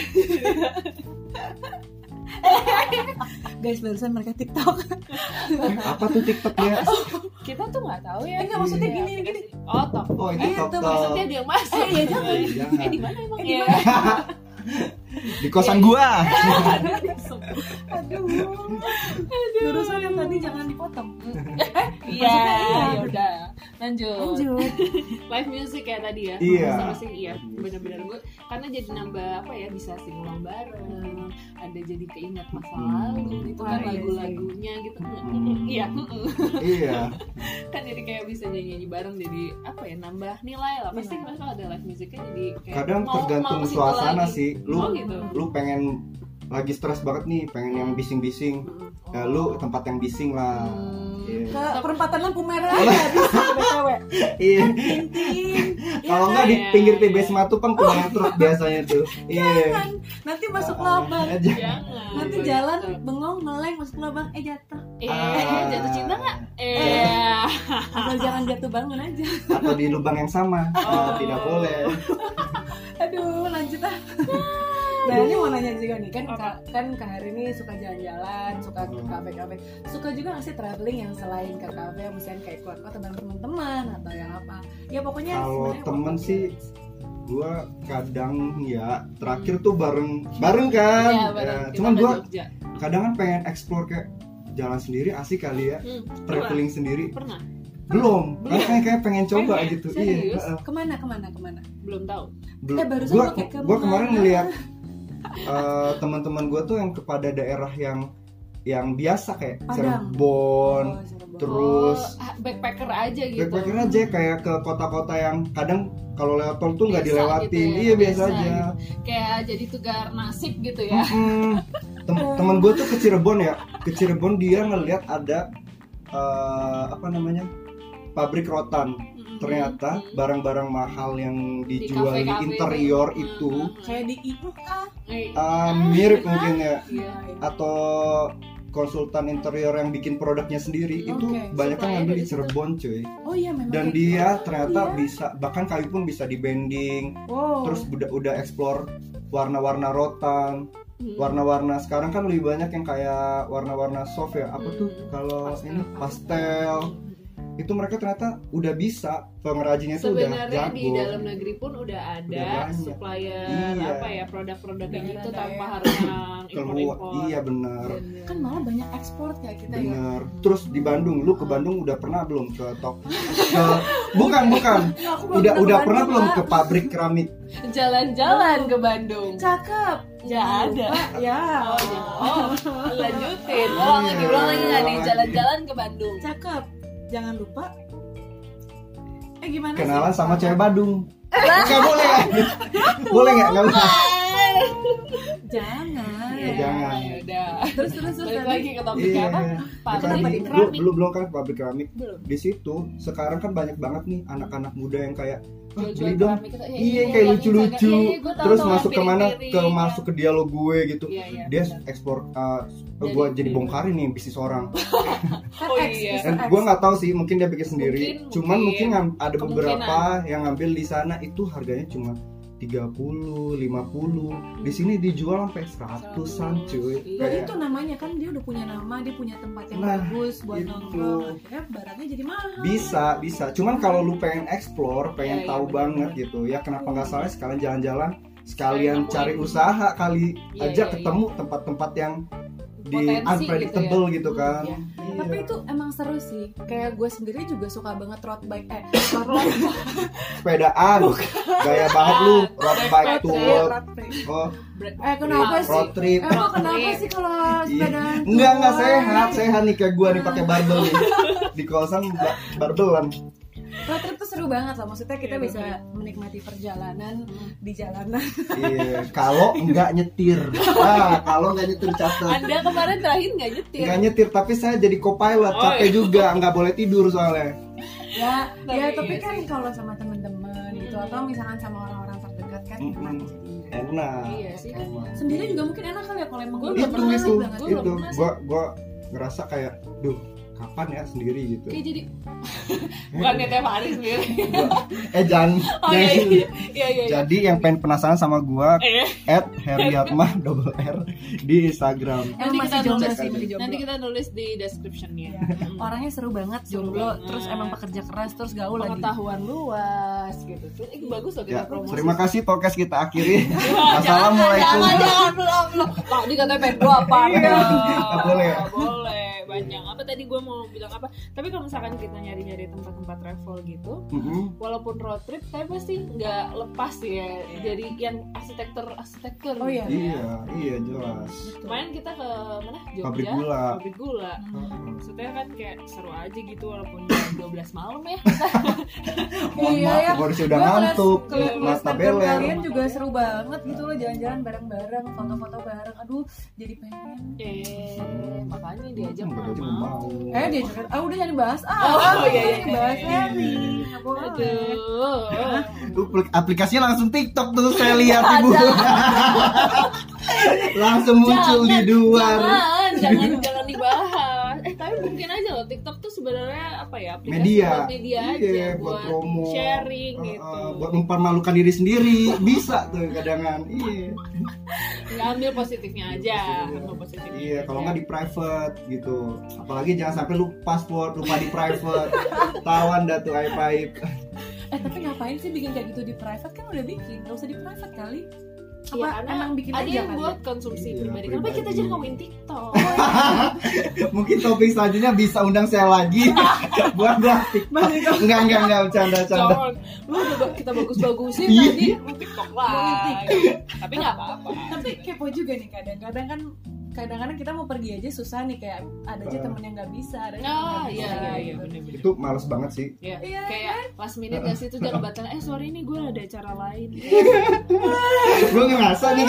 Guys, barusan mereka TikTok.
Iya. Apa tuh TikToknya?
Eh, kita tuh nggak tahu ya
Eh, nggak, maksudnya
Iya,
gini,
aplikasi. oh top
Oh, itu
Eh, itu
TikTok.
maksudnya dia yang masuk
Eh, iya, jangan.
eh di mana emang
Eh, di
ya
Di kosan gua.
Aduh. Jurusan yang tadi jangan dipotong. [LAUGHS]
iya
iya.
ya udah lanjut
Lanjut.
live music ya tadi ya
Iya.
Sama sih, iya benar-benar gue karena jadi nambah apa ya bisa singulang bareng ada jadi keinget masa
Hmm.
lalu gitu
Wah,
kan
iya
lagu-lagunya gitu
Hmm.
iya
Iya.
kan jadi kayak bisa nyanyi-nyanyi bareng jadi apa ya nambah nilai lah pasti
Iya.
kan kalau ada live musicnya jadi kayak
Kadang
mau-
tergantung
mau ke situ
suasana
lagi.
sih.
oh
Lu
gitu
lu pengen lagi stres banget nih, pengen yang bising-bising. Ya lu tempat yang bising lah.
Hmm.
Iya.
Ke perempatan lampu merah ya bisa BTW.
Iya.
Ting ting.
Kalau nggak di
kan? Oh.
pinggir TBS Matupang punya truk kan biasanya
[LAUGHS]
tuh. Iya.
Jangan. Nanti masuk
Ah,
lubang.
ah, jangan.
Oh, Jangan.
Nanti
Betul.
jalan bengong meleng masuk lubang eh jatuh.
Iya,
Eh, jatuh cinta nggak? Eh,
Eh.
Atau jangan jatuh bangun
[LAUGHS]
aja.
Ah, Atau di lubang yang sama. Ah,
Oh.
tidak boleh.
Aduh, lanjut ah. Nah ini mau nanya juga nih kan
Apa?
Kak- kan Kak hari ini suka jalan-jalan, suka ke
Hmm.
kafe-kafe, suka juga nggak sih traveling yang selain ke kafe, yang misalnya kayak keluar kota bareng teman-teman atau yang apa? Ya pokoknya
Kalau
sebenarnya
temen
waktu-
sih gua kadang ya terakhir tuh bareng bareng kan.
ya,
Ya,
bareng. Kita
cuman
ke
gua
Jogja.
kadang kan pengen explore kayak jalan sendiri asik kali ya,
Hmm,
traveling sendiri.
pernah
Belum.
Belum.
Karena kayak- kayak pengen coba
Pengen?
gitu. Iya,
Serius?
heeh.
kemana kemana kemana?
belum tahu.
Belum.
Eh, barusan
gua,
lu kayak
gua
kemana?
kemarin ngeliat eh, teman-teman gua tuh yang kepada daerah yang yang biasa kayak
Padang.
Cirebon,
Oh, Cirebon.
Terus.
Oh, ah, backpacker aja gitu.
backpacker aja kayak ke kota-kota yang kadang kalau lewat tol tuh nggak
Biasa
dilewatin
gitu ya,
iya biasa,
biasa
aja
Kayak jadi tugar nasib gitu ya.
Mm-mm. Tem- teman gue tuh ke Cirebon ya ke Cirebon dia ngelihat ada eh, apa namanya pabrik rotan Hmm.
Hmm.
ternyata
Mm-mm.
barang-barang mahal yang dijual di,
kafe-kafe gitu.
interior
tuh.
itu
Mm-mm.
Kayak di IUA.
hmm, Eh,
eh, mirip mungkin ya
iya.
atau konsultan interior yang bikin produknya sendiri itu
Oke,
banyak
supplier
yang ngambil di
dari situ.
Cirebon cuy
Oh iya memang.
dan
kayak
dia
gitu.
ternyata
Iya.
bisa bahkan kayu pun bisa di bending
Wow.
terus udah udah explore warna-warna rotan
Mm.
warna-warna sekarang kan lebih banyak yang kayak warna-warna soft ya apa tuh
Hmm.
kalau
Pastel.
ini pastel itu mereka ternyata udah bisa pengrajinnya tuh udah
Sebenarnya
jago
di dalam negeri pun udah
Udah
ada
banyak.
supplier
Iya.
apa ya produk-produk yang
Udah
itu
ada
tanpa
ya.
harus yang
keluar
impor-impor.
iya bener
Bener.
kan malah banyak ekspor ya kita ya.
bener terus di Bandung lu ke
Hmm.
Bandung udah pernah belum ke tok ke bukan bukan
Nah, aku belum
udah
pernah
udah
ke
pernah
Bandung,
belum
Kak.
ke pabrik keramik
Kan jalan-jalan ke Bandung.
Cakep.
Ya ada.
Lupa, Ya.
Oh, ya. oh lanjutin.
Iya.
Ulang lagi, ulang lagi nggak nih jalan-jalan ke Bandung.
Cakep. Jangan lupa. Eh gimana? sih?
kenalan sama cewek Badung nggak boleh nggak? boleh nggak nggak boleh
Jangan.
Ya, jangan.
Ya, udah.
Terus terus terus.
Balik
nanti.
lagi ke topik
Iya.
apa? Pabrik
Keramik.
keramik.
Lu- Lu belum kan pabrik keramik?
Belum.
Di situ sekarang kan banyak banget nih anak-anak muda yang kayak "Ah,
Jual-jual
beli dong.
keramik itu, ya,
Iya,
iya,
kayak
yang
lucu-lucu.
Instagram. Iya, iya, gua tahu
Terus
tuh,
masuk kemana?
piring-piring,
Ke
ya.
masuk ke dialog gue gitu.
Iya, iya.
Dia ekspor, uh,
Jadi-
gue jadi bongkarin nih bisnis orang.
Kan
Oh,
X,
iya.
Mr.
Dan
X.
gue nggak tahu sih, mungkin dia bikin sendiri.
Mungkin,
Cuman mungkin, ngam-
mungkin.
ada beberapa yang ngambil di sana itu harganya cuma 30, 50. Di sini dijual sampai 100-an cuy.
Iya.
Loh,
Kayak
itu namanya kan dia udah punya nama, dia punya tempat yang
Nah,
bagus buat
itu.
nongkrong. Akhirnya barangnya jadi mahal.
bisa bisa cuman kalau lu pengen explore pengen
Iya, iya,
tahu
bener,
banget
bener.
gitu ya kenapa nggak salah sekalian jalan-jalan sekalian
Sekalian
cari
nemuin.
usaha kali
Iya,
aja
iya,
ketemu tempat-tempat yang di
Potensi
unpredictable gitu,
Hmm,
kan
iya.
Iya.
Tapi itu emang seru sih. Kayak gue sendiri juga suka banget road bike. Eh, road bike.
sepedaan gaya banget lu road bike
Sepeda.
tour
road bike.
oh
Eh, kenapa
Road
sih?
road trip
Emang kenapa
Road
sih kalau
Iya.
sepeda?
Enggak enggak sehat, sehat nih kayak gua nih pakai barbel nih. Di kawasan ba- barbelan.
Road trip tuh seru banget loh. Maksudnya kita
Iya, Hmm.
bisa
bener.
menikmati perjalanan di jalanan.
Iya, kalau enggak nyetir. Ah, kalau enggak nyetir catat.
Anda kemarin terakhir nggak nyetir.
Nggak nyetir, tapi saya jadi co-pilot,
Oh,
capek juga, nggak boleh tidur soalnya.
ya,
Tapi
ya tapi
iya
kan
sih.
kalau sama temen-temen gitu
Mm.
atau misalkan sama orang-orang terdekat kan
Mm-mm.
enak.
Enak.
Iya sih.
Emang.
Sendiri juga mungkin enak kali ya kalau emang
Gua
gua
belum
itu
pernah
itu
sih, Bang. Gua belum
itu
pernah sih.
gua gua ngerasa kayak duh kapan ya sendiri gitu
Kayak jadi
[LAUGHS]
bukannya tiap hari sendiri.
Gua- eh jangan
[LAUGHS] Oh
jangan.
iya iya iya iya. iya.
[LAUGHS] jadi yang pengen penasaran sama gua
Eh,
at Heriatmah double R di Instagram
Emang
Nanti
masih
kita
jomblo
nulis
sih,
aja.
masih jomblo.
Nanti kita nulis di descriptionnya. Mm.
Orangnya seru banget,
Seru
jomblo,
banget.
terus emang pekerja keras, terus gaul lagi.
Pengetahuan luas gitu. Terus eh, bagus loh kita
ya
promosi.
terima kasih podcast kita
[LAUGHS]
akhiri
Jangan,
[LAUGHS] assalamualaikum
jangan, belum, belum. Tadi katanya pengen gua apa?
Iya. Nggak boleh ya?
boleh, banyak. Apa tadi gua mau bilang apa? Tapi kalau misalkan kita nyari-nyari tempat-tempat travel gitu,
Mm-mm.
walaupun road trip, tapi pasti nggak lepas ya. Jadi yang arsitektur, arsitektur.
Iya. Oh, iya.
iya iya jelas
Betul.
Kemarin kita ke mana? Jogja.
pabrik gula
Pabrik gula.
Mm.
Maksudnya kan kayak seru aja gitu walaupun jam 12 malam ya.
Mohon
Iya,
maaf,
ya.
gua sudah
Gua ngeliat-
ngantuk, ya.
ngeliat
mata
Instagram
beler.
Kalian juga seru banget gitu loh jalan-jalan bareng-bareng, foto-foto bareng. Aduh, jadi pengen.
Eh, makanya diajak
Hmm, takut aja gak mau
Eh dia juga, ah udah jangan dibahas ah,
Oh,
ah,
iya,
jangan
iya,
dibahas
iya,
ya
iya, iya, iya.
nggak boleh.
Aduh.
Lu aplik- aplikasinya langsung TikTok tuh
[LAUGHS]
saya lihat ibu langsung muncul di luar
Jangan, jangan, jangan dibahas. Eh tapi mungkin aja loh TikTok tuh sebenarnya apa ya? Aplikasi
media
buat media aja
Iya, buat, promo
sharing
Eh,
gitu.
eh, buat mempermalukan diri sendiri
[LAUGHS]
bisa tuh kadangan iya
Nggak ambil positifnya aja. Ambil positifnya.
Iya,
aja.
kalau nggak di private gitu. Apalagi jangan sampai lu password lupa di
[LAUGHS]
private. Tawan dah tuh aib aib.
Eh tapi ngapain sih bikin kayak gitu di private kan udah bikin, nggak usah di private kali. Apa
Iya, karena
emang bikin
ada
aja kan?
yang
kali
buat konsumsi
Iya,
pribadi. Kenapa
pribadi.
kita jadi ngomongin
[LAUGHS]
TikTok?
Mungkin topik selanjutnya bisa undang saya lagi
[LAUGHS]
buat grafik. Enggak enggak enggak bercanda bercanda.
Jangan. Lu udah ba- kita bagus-bagusin
Iya.
tadi lu TikTok lagi. Tapi nggak apa-apa.
tapi kepo juga nih kadang-kadang kan kadang-kadang kita mau pergi aja susah nih kayak ada aja
Ah.
temen yang nggak bisa ada yang
Nah,
nggak
iya
bisa,
iya iya
gitu.
bener-bener.
Itu males banget sih.
Iya,
Iya,
kayak last minute gak sih itu jangan batal. Eh sorry nih gue ada acara lain.
Gue ngerasa nih.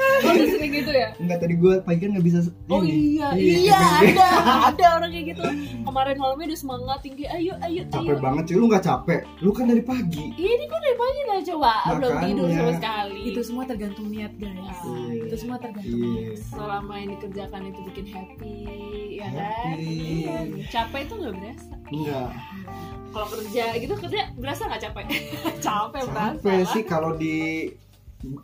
Lo udah sering gitu ya?
Enggak tadi gue pagi kan nggak bisa.
Oh
ini.
iya, iya, ada, ada orang kayak gitu. Kemarin malamnya udah semangat tinggi, ayo, ayo, ayo.
Capek banget sih lu nggak capek. Lu kan dari pagi.
Iya ini gue dari pagi nggak coba, belum
Makanya.
tidur sama sekali.
itu semua tergantung niat guys
Iya.
itu semua tergantung
Iya.
niat
selama yang dikerjakan itu bikin happy, ya kan?
Happy.
Iya. Capek itu nggak berasa.
Enggak.
Kalau kerja gitu kerja berasa nggak capek? [LAUGHS] capek berasa.
capek
lah.
sih kalau di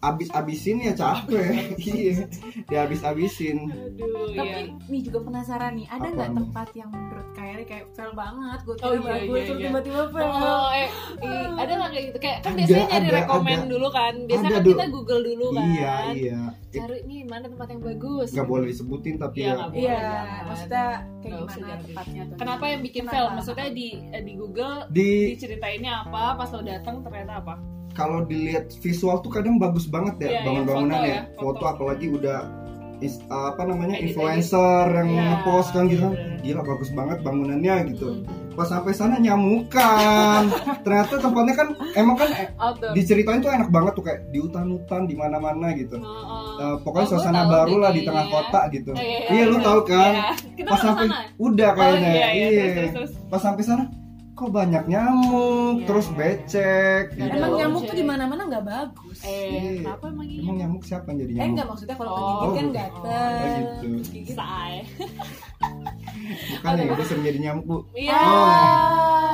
abis-abisin ya capek [LAUGHS] iya diabis-abisin
Aduh,
tapi
ya.
nih juga penasaran nih ada
Apa
nggak
nih?
tempat yang menurut Kairi kayak fail banget gue
Oh,
kira
iya,
bagus
iya,
terus
iya.
tiba-tiba fail
Oh, eh, i- ada nggak kayak gitu? Kayak kan
Ada,
biasanya nyari
ada,
rekomend
ada.
dulu kan. Biasanya
Ada,
kan
Du.
kita Google dulu kan.
iya iya Eh,
Cari nih mana tempat yang bagus.
nggak boleh disebutin tapi
Iya,
ya,
nggak boleh.
iya
jangan.
maksudnya kayak
Nggak usah
gimana
jadi.
tempatnya tuh
Kenapa yang bikin
Kenapa?
fail? Maksudnya di eh, di Google
di
diceritainnya apa? Pas lo datang ternyata apa?
kalau dilihat visual tuh kadang bagus banget
Iya,
ya
iya,
bangun-bangunan
foto
ya,
ya,
foto,
foto.
apalagi udah is- apa namanya
Edit-edit.
influencer yang
Iya,
ngepost kan gitu kan.
bener.
gila bagus banget bangunannya gitu
Hmm.
pas sampai sana nyamukan ternyata tempatnya kan emang kan eh,
Outdoor.
diceritain tuh enak banget tuh kayak di hutan-hutan di mana-mana gitu
Heeh.
Eh,
Oh,
pokoknya
gua
suasana
tahu
baru lah di
kayaknya.
tengah kota gitu.
Oh, iya,
iya, lu
iya.
tahu kan?
Iya. Kita
Pas
pernah
sampai
sana.
udah kayaknya.
iya, iya,
iya.
terus, terus, terus.
Pas sampai sana kok banyak nyamuk,
Iya.
terus becek gitu.
emang
Iya.
nyamuk tuh di mana-mana nggak bagus
Iya.
Eh, kenapa emang ini?
Emang nyamuk siapa yang jadi
eh
nyamuk?
nggak maksudnya kalau
Oh.
penggigit kan
Oh,
gatel
gitu.
Gigit.
Say.
Bukan ya, gue sering jadi nyamuk, Bu.
Iya.
Oh.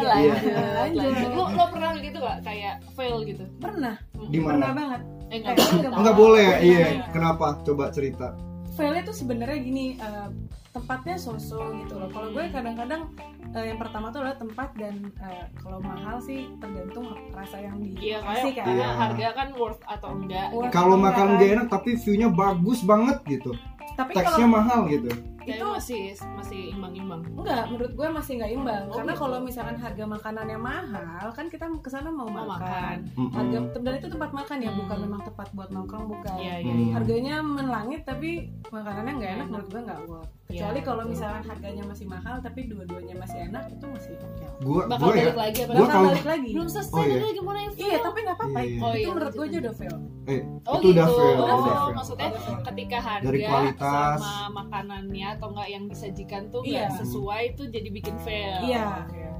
Iya.
Iya.
Lanjut. lanjut. Lo, lo pernah gitu gak kayak fail gitu?
pernah
Di mana?
pernah banget
Eh nggak
Eh,
boleh.
Enggak boleh,
Iya.
iya. Kenapa? Coba cerita.
failnya tuh sebenarnya gini eh, tempatnya sosok gitu loh kalau gue kadang-kadang eh, yang pertama tuh adalah tempat dan eh, kalau mahal sih tergantung rasa yang
Iya
dikasih kan
kayak karena
Iya.
harga kan worth atau enggak.
Worth.
Kalau
Iya.
makan gak enak tapi view-nya bagus banget gitu.
tapi
Teksnya
kalau
mahal gitu.
Itu
itu
masih masih imbang-imbang.
enggak menurut gue masih nggak imbang
Oh,
karena
gitu.
kalau misalkan harga makanannya mahal kan kita kesana mau
Mau
makan harga
Mm-mm.
dan itu tempat makan ya bukan
Hmm.
memang tempat buat nongkrong bukan
Iya iya.
Hmm.
harganya melangit tapi makanannya nggak enak menurut gue nggak worth kecuali
Iya,
kalau
betul.
misalkan harganya masih mahal tapi dua-duanya masih enak itu masih oke
Gua
Bakal
gua ya.
balik lagi apa?
Gua
Bakal
kalau-
balik lagi
Belum selesai
Oh, iya.
tadi gimana yang fail?
Iya, tapi nggak apa-apa.
Iya.
Oh, iya,
itu menurut gue aja
lanjut.
udah fail.
Eh,
Oh,
itu udah
gitu.
fail,
Udah
udah
fail.
fail.
Maksudnya ketika harga
Dari kualitas.
sama makanannya atau enggak yang disajikan tuh
Iya.
enggak sesuai itu jadi bikin fail.
Iya.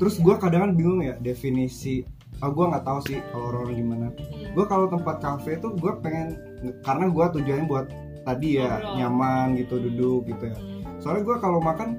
Terus gue kadang bingung ya definisi. Ah gue nggak tahu sih kalau orang-orang gimana.
Hmm.
Gue kalau tempat kafe tuh gue pengen karena gue tujuannya buat tadi ya
Ngobrol.
nyaman gitu duduk gitu ya.
Hmm.
Soalnya gue kalau makan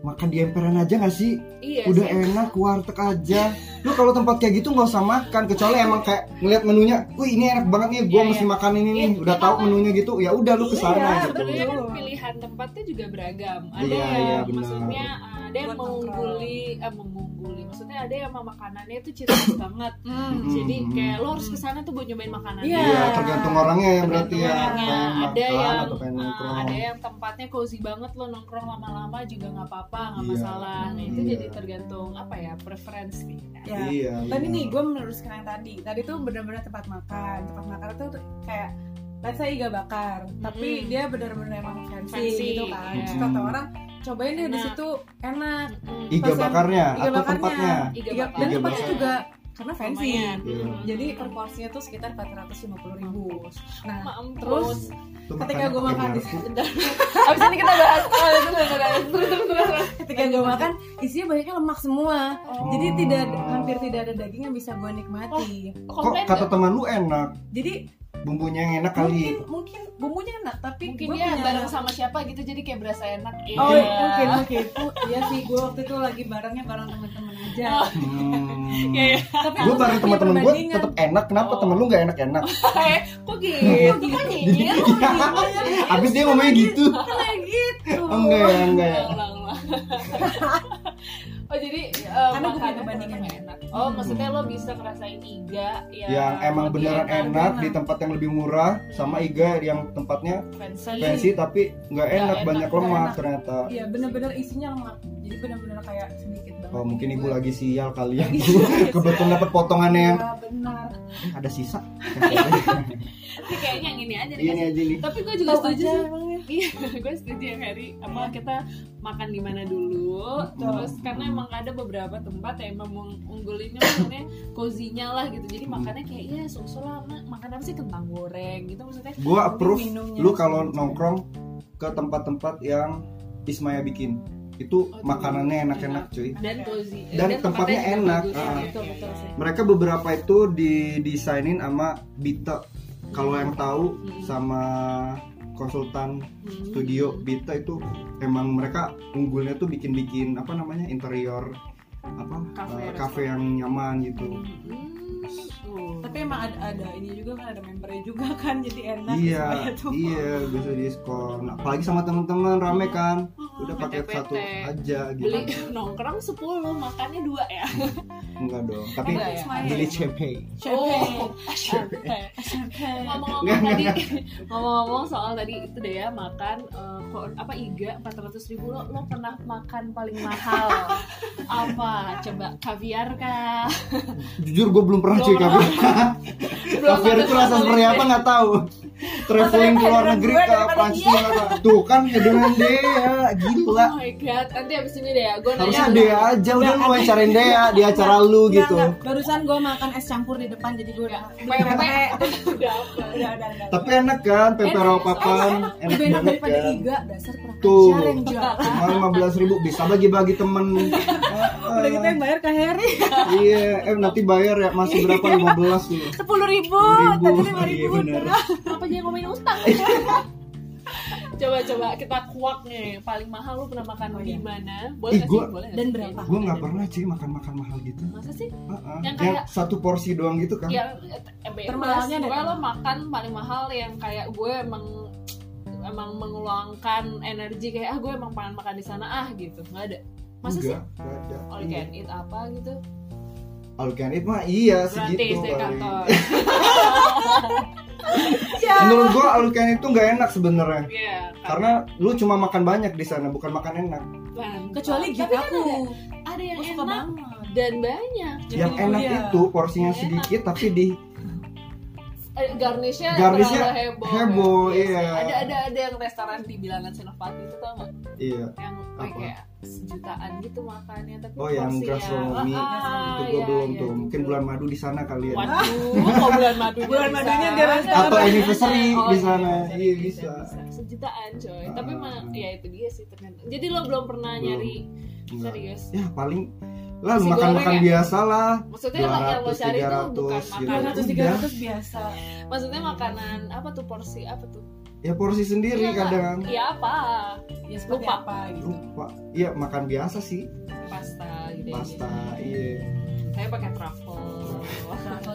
makan di emperan aja nggak sih?
Iya
Udah
sih.
enak warteg aja. Lu kalau tempat kayak gitu nggak usah makan kecuali emang kayak ngeliat menunya, wih ini enak banget nih, gue
Iya,
mesti
iya.
makan ini nih.
Iya,
Udah
iya,
tahu
kan.
menunya gitu, ya udah lu
Iya,
kesana gitu.
Sebenarnya kan
Betul.
pilihan tempatnya juga beragam. Ada
Iya,
yang
iya, benar.
maksudnya uh, ada yang
Buat nongkrong.
mengungguli, eh, mengungguli. Maksudnya ada yang sama makanannya itu ciri khas banget.
Mm-mm.
Jadi kayak lo harus kesana tuh buat nyobain makanannya.
Iya,
Hmm, Iya, tergantung orangnya ya berarti ya.
Orangnya.
Pengen
ada
makan
yang
atau pengen
uh,
nongkrong.
ada yang tempatnya cozy banget lo nongkrong lama-lama juga nggak apa-apa nggak
Iya.
masalah nah itu
Iya.
jadi tergantung apa ya preferensi
Ya.
Iya.
Tadi
iya.
nih gue meluruskan yang tadi. Tadi tuh benar-benar tempat makan. Tempat makan itu tuh kayak let's say iga bakar, tapi
Mm.
dia benar-benar emang fancy,
Fancy,
gitu kan.
iya.
Terus kata orang cobain deh di
Enak.
situ enak.
Mm-mm.
Iga
Pesan iya,
bakarnya
iga
Iya, atau
bakarnya.
tempatnya?
Iga
Iga-
bakar.
dan
Iga
tempatnya
bakar.
juga karena fancy
Iya.
Hmm.
jadi per porsinya tuh sekitar 450 ribu nah
terus
terus
Tuh
ketika
makannya
gue
pakai
makan di
garpu.
abis ini kita bahas terus terus terus Oh, terus terus terus terus
ketika gue makan isinya banyaknya lemak semua
Oh.
jadi tidak hampir tidak ada daging yang bisa gue nikmati
Kok
komplain
kata
nggak?
teman lu enak?
jadi
Bumbunya yang enak
mungkin
kali.
mungkin bumbunya enak tapi
mungkin
gue
dia
punya
bareng sama siapa gitu jadi kayak berasa enak
Oh
Iya.
mungkin mungkin Oh, iya sih gue waktu itu lagi barengnya bareng temen-temen aja
Oh. [LAUGHS]
Hmm.
Iya, iya.
tapi
Gue bareng teman-teman gue
tetap
tetap enak. Kenapa
Oh.
temen lu nggak enak-enak? Iya.
Eh, kok
[LAUGHS]
Iya,
gitu kan nyinyir
Abis dia ngomongnya gitu.
gitu
Oh, enggak ya, enggak ya.
Ulang, ulang, ulang. oh jadi eh,
Karena gue punya
makanan
perbandingan.
ternyata enak. Oh maksudnya lo bisa ngerasain iga yang, kan
Yang emang
lebih
beneran enak di tempat yang lebih murah sama iga yang tempatnya
fancy.
fancy tapi nggak enak
enak,
banyak
nggak
lemak
enak.
ternyata.
Iya bener-bener isinya lemak Jadi bener-bener kayak sedikit banget Iya,
Oh mungkin ibu
Gua-
lagi sial kali ya. Kebetulan dapat potongannya
[LAUGHS]
yang
Iya, benar
"Eh, ada sisa.
Tapi kayaknya yang ini
[LAUGHS]
aja
Ini
dikasih.
aja nih.
Tapi gue juga
Tahu aja
setuju. sih.
emangnya.
Iya, [LAUGHS] gue setuju yang hari apa kita makan di mana dulu. Terus karena emang ada beberapa tempat yang emang meng- unggulinnya maksudnya cozy-nya lah gitu. Jadi makannya kayak ya susu lah, Ma. makan apa sih kentang goreng gitu maksudnya.
Gua approve
minumnya.
lu kalau nongkrong ke tempat-tempat yang Ismaya bikin. Itu
Oh,
makanannya
enak.
enak-enak cuy.
Dan cozy. Eh,
Dan tempatnya
juga
enak.
bagus.
Ah.
Iya, Betul betul sih.
mereka beberapa itu didesainin sama Bita kalau yang tahu
Hmm.
sama konsultan
Hmm.
studio Bita itu emang mereka unggulnya tuh bikin-bikin apa namanya interior apa
Cafe,
eh, cafe yang nyaman gitu
Hmm.
Tapi emang ada, ada ini juga kan Ada membernya juga kan Jadi
Nah,
enak
iya
supaya tuh-
iya bisa diskon apalagi sama teman-teman rame
Hmm.
kan
Mm-mm.
udah paket
PT.
satu aja gitu
beli nongkrong 10 makannya dua ya
enggak dong tapi
Enggak ya?
beli CP
Champagne.
Champagne.
[LAUGHS] Champagne.
ngomong-ngomong tadi [LAUGHS] ngomong-ngomong soal tadi itu deh ya makan eh, ko- apa iga 400 ribu lo lo pernah makan paling
[LAUGHS]
mahal apa coba kaviar kah
[LAUGHS] jujur gue belum pernah
Belum
cuy
pernah.
kafe [LAUGHS] kafe itu rasa seperti apa nggak tahu traveling ke luar
heran
negeri
gue
ke
daripada
Prancis nggak tahu. tuh kan dengan dia gila
oh my god nanti abis ini deh ya gue nanya
harusnya dia aja udah lu wawancarain dia di acara lu
Enggak,
gitu
enggak. Barusan gue makan es campur di depan Jadi gue udah
PP udah
Udah ada ada
tapi enak kan pepero papan enak
Lebih enak
banget
daripada
kan
iga Dasar kurang
Tuh.
ajar yang jual
cuma lima belas ribu bisa bagi-bagi temen Ah,
Udah gitu yang bayar ke Harry
iya eh nanti bayar ya masih berapa lima belas tuh
sepuluh ribu,
10.000.
tadi lima
Iya,
ribu
bener.
apa jadi ngomongin
[LAUGHS]
utang coba coba kita kuak nih paling mahal lo pernah makan
Oh,
di
iya.
mana boleh
Ih,
nggak sih
gua-
boleh nggak
Dan
sih?
berapa?
gue nggak pernah cuy makan makan mahal gitu
masa sih
Ah, ah.
Yang
yang
kayak-
satu porsi doang gitu kan
yang eh,
Termahalnya
gue
dari
lo makan paling mahal yang kayak gue emang emang mengeluangkan energi kayak ah gue emang pengen makan di sana ah gitu nggak ada masa sih
enggak enggak ada
all you
Iya.
can eat apa gitu
All you can eat mah iya
gratis
segitu paling.
di
[LAUGHS]
kantor
Menurut gua all you can eat tuh nggak enak sebenarnya.
Iya,
Karena lu cuma makan banyak di sana, bukan makan enak.
mantap.
kecuali
Tapi
gitu
kan
aku
ada, ada yang
aku suka
enak
banget
dan banyak
Yang
Jadi
enak
iya.
itu porsinya
Enak.
sedikit tapi di
eh, garnishnya
Garnishnya
terlalu heboh,
heboh,
Iya sih.
iya.
ada ada ada yang restoran di bilangan Senopati itu tau gak
iya.
yang
Apa?
kayak sejutaan gitu makannya tapi
Oh, yang
porsinya-
gastronomi.
Ah,
itu gua belum
iya, iya,
tuh.
gitu.
Mungkin bulan madu di sana kali ya.
Waduh, kok bulan madu
Bulan madunya dia rasa-
Iya, Atau anniversary
Oh,
di sana.
anniversary,
Iya
bisa,
bisa.
bisa.
sejutaan coy.
Ah.
Tapi mah ya itu dia sih ternyata. Jadi lo belum pernah
Belum.
nyari
Enggak.
serius.
Ya paling lah
Nasi
makan-makan
goreng ya?
biasa lah.
Maksudnya lo yang lo
200,
cari tuh bukan
300
dua
makanan.
gitu.
ratus tiga ratus biasa
Maksudnya makanan apa tuh porsi apa tuh?
Ya porsi sendiri
Iya, Kak.
kadang.
Ya apa?
ya seperti
Lupa.
apa gitu
Lupa. Iya makan biasa sih.
Pasta gitu. ya.
Pasta. Iya.
Saya pakai truffle.
Taco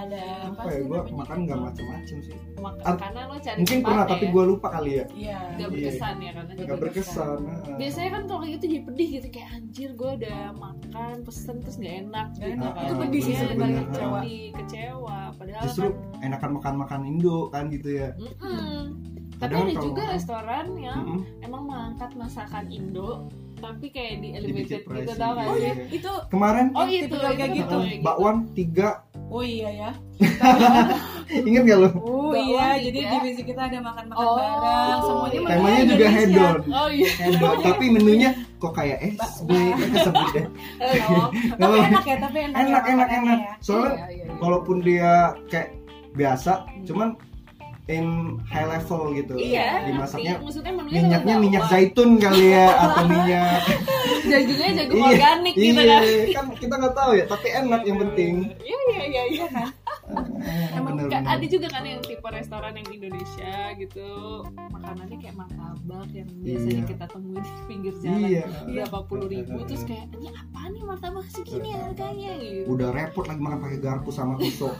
ada apa
Apa ya
sih
gua
namanya?
makan nggak macam-macam sih.
Mak-
At-
Karena lo cari
Mungkin pernah tapi gua lupa kali ya.
iya
Gak
Iya.
berkesan ya karena
Gak berkesan. ah.
biasanya kan kalau kayak gitu jadi pedih gitu kayak anjir gue udah makan pesen terus nggak enak
Nggak
gitu
enak.
kan.
Itu
pedih sih
Iya,
sebenarnya.
ntar kecewa kecewa padahal
ya. justru
kan
enakan makan makan Indo kan gitu ya
Mm-mm. tapi
Kadang
ada
kalau-
juga restoran yang
Mm-mm.
emang mengangkat masakan Indo tapi kayak di
Dibikin
elevated gitu
pricey,
tau gak
Oh
sih?
iya, itu
Kemarin
Oh itu,
Tipikal
itu
kayak
gitu.
gitu.
bakwan tiga
oh iya ya.
inget gak lo
Oh
Bawang
iya,
juga.
jadi di divisi kita ada makan-makan
Oh,
bareng, semuanya
iya.
makanan
temanya juga
Indonesia.
hedon
Oh iya.
hedon tapi menunya kok kayak es
Bakwan.
kesebut
[LAUGHS]
deh
Oh,
Tapi enak ya, tapi enak. ya
enak enak
makanannya
enak
ya.
soalnya
iya, iya, iya.
walaupun dia kayak biasa
Hmm.
cuman in high level gitu
Iya,
dimasaknya
ngerti. maksudnya menunya
minyaknya
sama
minyak
bawang.
zaitun kali
[LAUGHS]
ya atau minyak
Jagungnya jagung
Iya,
organik gitu
iya
kan.
kan kita nggak tahu ya tapi enak yang penting
Iya iya iya iya [LAUGHS] kan.
Emang bener,
Ka-
bener.
ada juga kan yang tipe restoran yang Indonesia gitu makanannya kayak martabak yang biasanya
Iya.
kita temuin di pinggir jalan
iya
berapa puluh ribu terus kayak ini apa nih martabak segini harganya gitu
udah repot lagi makan pakai garpu sama tusuk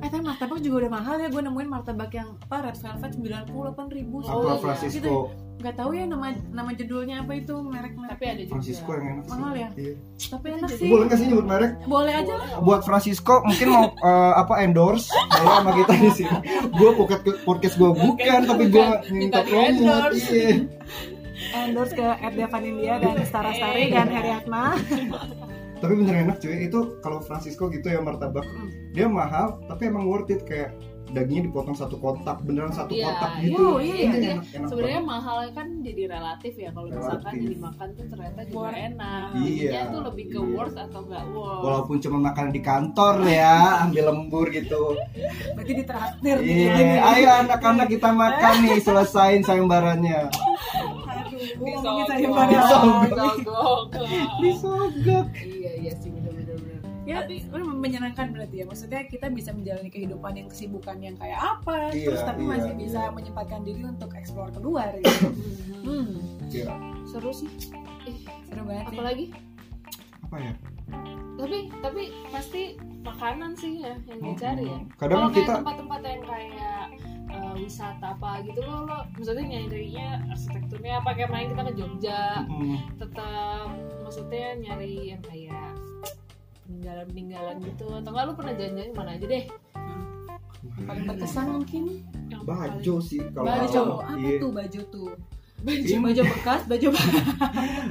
Eh tapi martabak juga udah mahal ya, gue nemuin martabak yang apa Red Velvet 98 ribu
San
iya.
Francisco
Gak tahu ya nama nama judulnya apa itu merek-merek
tapi ada juga
Francisco yang enak sih.
Mahal ya?
Iya.
Tapi enak sih
boleh nggak sih nyebut merek
Boleh aja lah
buat Francisco mungkin
[LAUGHS]
mau eh, apa endorse boleh sama kita di sini gue podcast podcast gue bukan tapi gue
bukan. Minta
minta
di
promote
endorse.
iya.
Endorse ke Ed Devan India dan Stara Stari dan Heri Atma
tapi bener enak cuy itu kalau Francisco gitu ya martabak
Hmm.
dia mahal tapi emang worth it kayak dagingnya dipotong satu kotak beneran satu
Iya,
kotak
iya,
gitu
iya,
Itu
iya.
enak, enak
sebenarnya mahal kan jadi relatif ya kalau misalkan
Relatif.
yang dimakan tuh ternyata juga
Worth.
enak
Iya,
jadinya tuh lebih ke
iya.
worth atau nggak
banget.
worth
walaupun cuma makan di kantor ya ambil lembur gitu
Berarti ditraktir nih
iya ayo anak-anak kita makan nih selesain sayembarannya
Aduh,
Di
ngomongin
sogok,
saya bareng
sogok.
disogok
iya iya sih bener-bener
Ya, tapi menyenangkan berarti ya Maksudnya kita bisa menjalani kehidupan yang kesibukan yang kayak apa
Iya,
Terus tapi
iya,
masih
iya.
bisa menyempatkan diri untuk explore keluar gitu Hmm,
Iya,
seru sih Ih,
seru banget ya.
apalagi
apa ya
tapi tapi pasti makanan sih ya yang dicari ya
Hmm, kadang
kalau kayak
kita
tempat-tempat yang kayak eh, wisata apa gitu lo lo maksudnya nyarinya arsitekturnya apa kayak main kita ke Jogja
Mm,
tetap maksudnya nyari yang kayak peninggalan-peninggalan gitu atau nggak lo pernah jalan-jalan mana aja deh
Yang paling berkesan mungkin
yang
bajo sih kalau
Bajo,
kalau-
apa
iya.
tuh baju tuh?
Baju.
Baju, baju bekas, baju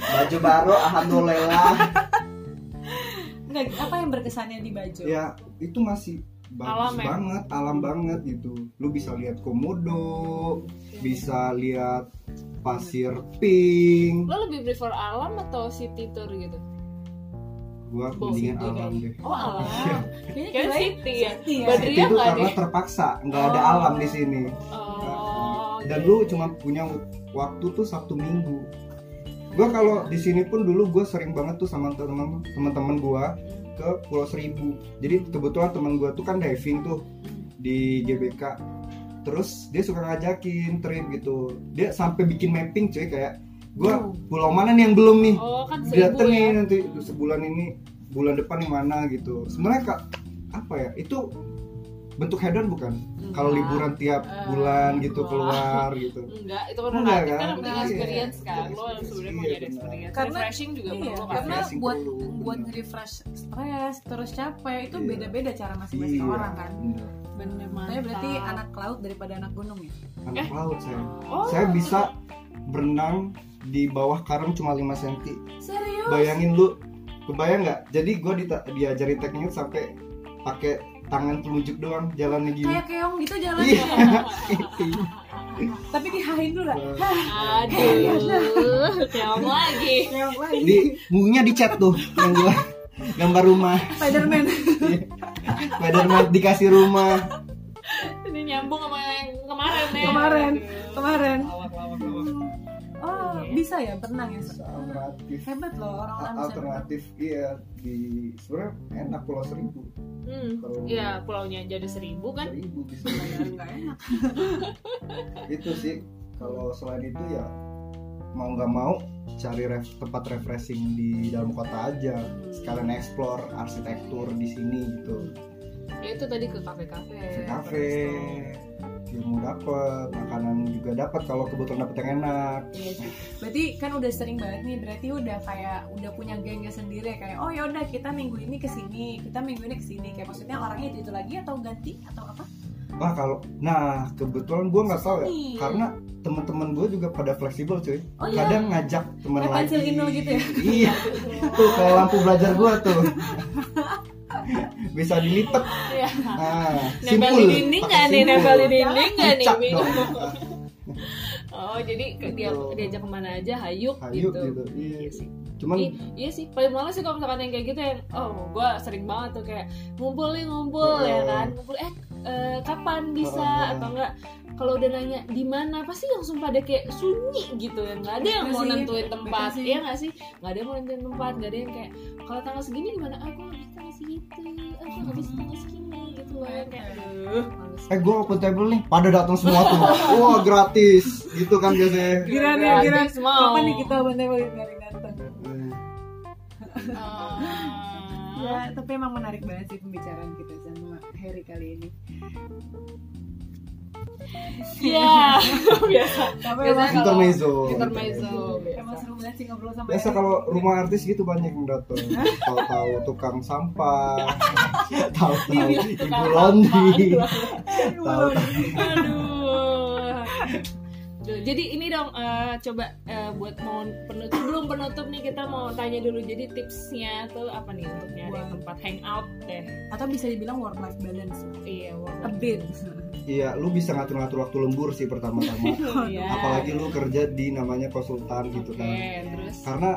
bajo baru alhamdulillah
[LAUGHS]
Enggak, apa yang berkesannya di baju?
ya itu masih bagus
Alam ya?
banget alam banget gitu lu bisa lihat komodo bisa lihat pasir pink
lo lebih prefer alam atau city tour gitu
gua
Bau
mendingan
city
alam
kayaknya.
deh
oh alam
Iya.
Kayaknya
Kayaknya
kirain
city ya?
city ya.
Badri- Iya
itu
nggak
karena
deh?
terpaksa nggak ada
Oh.
alam di sini
oh
dan
iya.
lu cuma punya waktu tuh sabtu minggu gua kalau di sini pun dulu gua sering banget tuh sama teman-teman teman-teman gua ke Pulau Seribu. Jadi kebetulan teman gua tuh kan diving tuh di GBK. Terus dia suka ngajakin trip gitu. Dia sampai bikin mapping cuy kayak gua
Hmm.
Wow.
pulau mana nih yang belum nih?
oh kan seribu
Dateng
ya
nih nanti sebulan ini bulan depan yang mana gitu. Sebenarnya kak apa ya? Itu bentuk hedon bukan?
Iya.
Kalau
Enggak.
liburan tiap
Eh,
bulan gitu
wah.
keluar gitu.
Enggak, itu kan
Enggak,
relatif
kan?
kan mending
Iya,
experience kan.
iya,
Lo
iya,
sebenarnya
iya,
mau nyari
benar.
experience.
Karena-
refreshing juga
Iya,
perlu kan.
karena
Refreshing
buat
perlu,
buat
bener.
refresh stres, terus capek itu
Iya.
beda-beda cara masing-masing
Iya.
orang kan.
bener.
Bener
Tapi berarti anak laut daripada anak gunung ya.
Anak laut saya.
Oh.
Saya bisa berenang di bawah karang cuma 5 cm.
Serius?
bayangin lu kebayang nggak jadi gue diajarin teknik sampai pakai tangan telunjuk doang jalannya gini
Kayak keong gitu
iya
jalannya. Tapi dihahin dulu
Iya.
lah.
Aduh, keong lagi.
Keong lagi.
di mungnya dicat tuh yang gua gambar rumah
Spiderman. [LAUGHS]
Spiderman dikasih rumah
Ini nyambung sama yang kemarin ya.
Kemarin.
Aduh.
Kemarin.
Lawak, lawak, lawak.
Oh, bisa ya berenang ya.
alternatif
Hebat loh orang-orang bisa berenang.
alternatif iya di sebenarnya enak pulau seribu
Hmm.
Kalau-
Iya, pulaunya jadi seribu kan.
seribu bisa
Enggak enak.
itu sih kalau selain itu ya mau nggak mau cari ref- tempat refreshing di dalam kota aja sekalian explore arsitektur di sini gitu
Ya itu tadi ke kafe-kafe.
ke kafe ilmu dapat makanan juga dapat kalau kebetulan dapat yang enak
Iya sih.
Berarti kan udah sering banget nih, berarti udah kayak udah punya gengnya sendiri ya, kayak oh ya udah kita minggu ini ke sini, kita minggu ini ke sini. Kayak maksudnya orangnya itu itu lagi atau ganti atau apa?
wah kalau nah kebetulan gue nggak tahu ya
Iya.
Nih.
karena teman-teman gue juga pada fleksibel cuy
Oh, iya?
kadang ngajak teman
Kayak
lagi
pensil inul gitu ya?
iya tuh kayak lampu belajar gue tuh bisa dilipet
Iya.
ah,
Nempel di dinding nggak nih? Nempel di dinding nggak nih?
Cicak
Min?
dong.
Oh jadi ke- dia
Gitu.
diajak kemana aja hayuk,
Hayuk gitu, iya.
Iya sih.
cuman
I- iya sih paling males sih kalau misalkan yang kayak gitu yang oh gue sering banget tuh kayak ngumpul nih ngumpul ya
Hmm.
kan ngumpul eh eh, kapan bisa
Hmm.
atau enggak kalau udah nanya di mana pasti langsung pada kayak sunyi gitu ya nggak ada yang
Betul
mau
sih,
nentuin
betul
tempat
sih.
iya nggak sih nggak ada yang mau nentuin tempat nggak ada yang kayak kalau tanggal segini gimana aku habis tanggal segitu aku habis tanggal segini gitu loh yang
[LAUGHS]
kayak aduh males
eh gue open table nih pada datang semua tuh wah gratis gitu kan biasanya
Giran ya,
Gratis
giran.
mau.
Kapan nih kita bandai balik dari datang? Ya,
Ah.
tapi emang menarik banget sih pembicaraan kita sama Harry kali ini.
Iya, biasa.
Tapi
Biasanya
emang,
kalau-
intermezzo
Intermezzo.
emang seru banget sih ngobrol sama
biasa
Harry.
kalau rumah artis gitu banyak yang datang tahu-tahu tukang sampah tahu-tahu ibu laundry [LAUGHS]
Aduh,
tahu
Aduh. Duh, Jadi ini dong eh, coba eh, buat mau penutup belum penutup nih kita mau tanya dulu jadi tipsnya tuh apa nih untuk nyari
Buat-
tempat hangout deh
Atau bisa dibilang work life balance. Hmm,
iya
A bit.
iya lu bisa ngatur-ngatur waktu lembur sih pertama-tama
Iya.
apalagi lu kerja di namanya konsultan gitu
Oke,
kan
terus
karena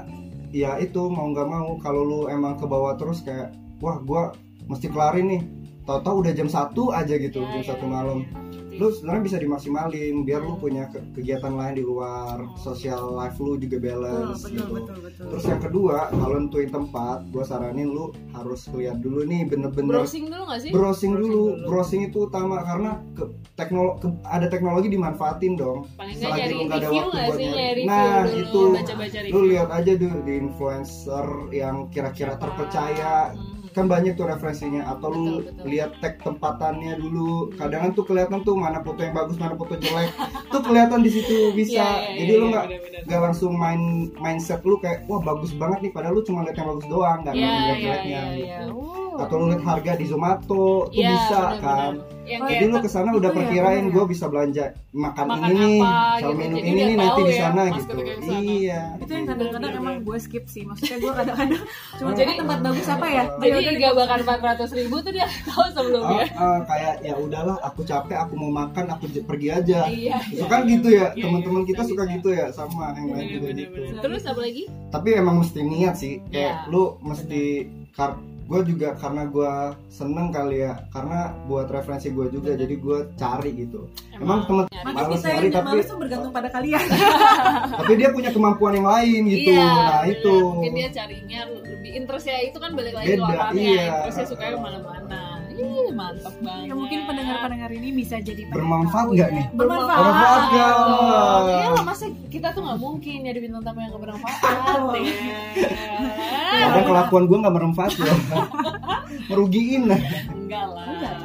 ya itu mau nggak mau kalau lu emang ke bawah terus kayak wah gua mesti kelarin nih tahu-tahu udah jam satu aja gitu jam
Ya, ya,
satu
ya,
malam
ya.
lu sebenarnya bisa dimaksimalin biar lu punya ke- kegiatan lain di luar social life lu juga
Betul,
Hmm,
balance
betul,
gitu
betul, betul.
Terus yang kedua, kalau nentuin tempat, gue saranin lu harus lihat dulu nih bener-bener
browsing dulu nggak sih?
browsing dulu.
dulu.
Browsing itu utama karena ke, teknolo- ke- ada teknologi dimanfaatin dong.
Paling nggak
Selagi
nyari
lu nggak ada
review
waktu
nggak
buat
sih?
nyari.
Nyari review
Nah, itu.
dulu, baca-baca review.
Lu lihat aja dulu di influencer yang kira-kira terpercaya.
Hmm.
Kan banyak tuh referensinya atau lu
Betul, betul.
lihat tag tempatannya dulu. Kadang tuh kelihatan tuh mana foto yang bagus, mana foto jelek. tuh kelihatan di situ bisa.
Iya, iya,
Jadi
iya,
lu
iya,
nggak
benar-benar.
gak langsung main mindset lu kayak wah bagus banget nih padahal lu cuma lihat yang bagus doang gak
Iya,
lihat
iya,
jeleknya
iya,
gitu.
iya.
atau lu lihat harga di Zomato tuh
Iya,
bisa
benar-benar.
kan
Yang
Oh,
jadi
kayak
lu kesana
itu
udah
ya,
perkirain
benar ya.
gue bisa belanja makan,
Makan
ini nih
apa
sama
gitu.
minum
Jadi
ini
udah
nih nanti
tahu
di
ya,
sana
pas
gitu
ketika yang sana.
iya
itu yang kadang-kadang
Bener,
emang
bener.
gue skip sih maksudnya gue
[LAUGHS]
kadang-kadang cuma
Oh.
cari tempat bagus apa ya
jadi
Yaudah,
gak bakal 400 ribu tuh dia [LAUGHS] tahu
Oh,
sebelumnya.
eh, kayak ya udahlah aku capek aku mau makan aku j- pergi aja
Iya.
Itu kan gitu ya
Iya,
teman-teman
iya,
kita
bisa,
suka
bisa.
gitu ya sama yang lain juga
Bener-bener.
gitu
Terus apa lagi?
tapi emang mesti niat sih
Iya.
kayak lu mesti kar gue juga karena gue seneng kali ya karena buat referensi gue juga jadi gue cari gitu emang, temen
nyari.
Maka
Males
kita
nyari,
yang
tapi-
males tuh bergantung pada
[LAUGHS]
kalian
tapi dia punya kemampuan yang lain gitu
Iya,
nah
bener.
itu
Mungkin dia carinya lebih interest ya itu kan balik lagi ke
Beda,
orangnya.
iya.
Interestnya suka yang mana-mana. Ih, mantap banget.
ya mungkin pendengar-pendengar ini bisa jadi pada
Bermanfaat
tahu
nggak
ya.
nih?
bermanfaat,
Bermanfaat nggak?
dong. Iya lah, masa kita tuh gak mungkin jadi bintang tamu yang gak
[LAUGHS]
bermanfaat ya.
ada kelakuan gue nggak bermanfaat loh merugiin Nah,
Enggak
Enggak
lah.
lah.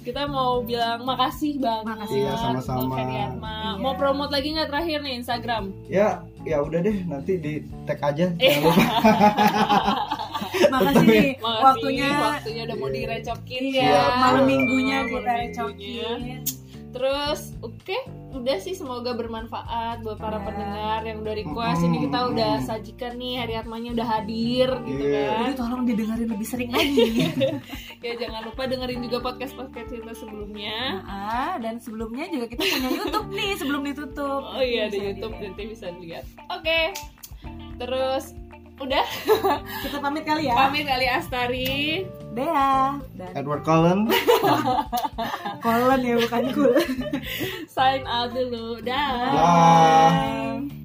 Kita mau bilang makasih banget.
Makasih.
Iya, sama-sama.
Bang Heriatma.
Iya.
Mau promote lagi nggak terakhir nih Instagram?
ya ya udah deh nanti di tag aja
Eh.
jangan lupa
[LAUGHS] makasih nih
Makasih,
waktunya
waktunya udah mau direcokin ya.
Iya,
malam
Iya.
minggunya
Malam
kita
minggunya.
recokin
Terus oke, udah sih semoga bermanfaat buat para
Iya.
pendengar yang udah request. Ini kita
Mm-mm.
udah sajikan nih hari Atmanya udah hadir gitu
Iya.
jadi
kan.
tolong didengarin lebih sering
[LAUGHS]
lagi
Ya jangan lupa dengerin juga podcast podcast kita sebelumnya.
Ah, dan sebelumnya juga kita punya YouTube nih sebelum ditutup
Oh iya di
Bisa
YouTube
dilihat.
nanti bisa dilihat. Oke. Terus udah
kita pamit kali ya
pamit Ali Astari.
Dea dan
Edward Cullen
Colin ya bukan Kul
Sign out dulu. Dah.
Dah.
Bye.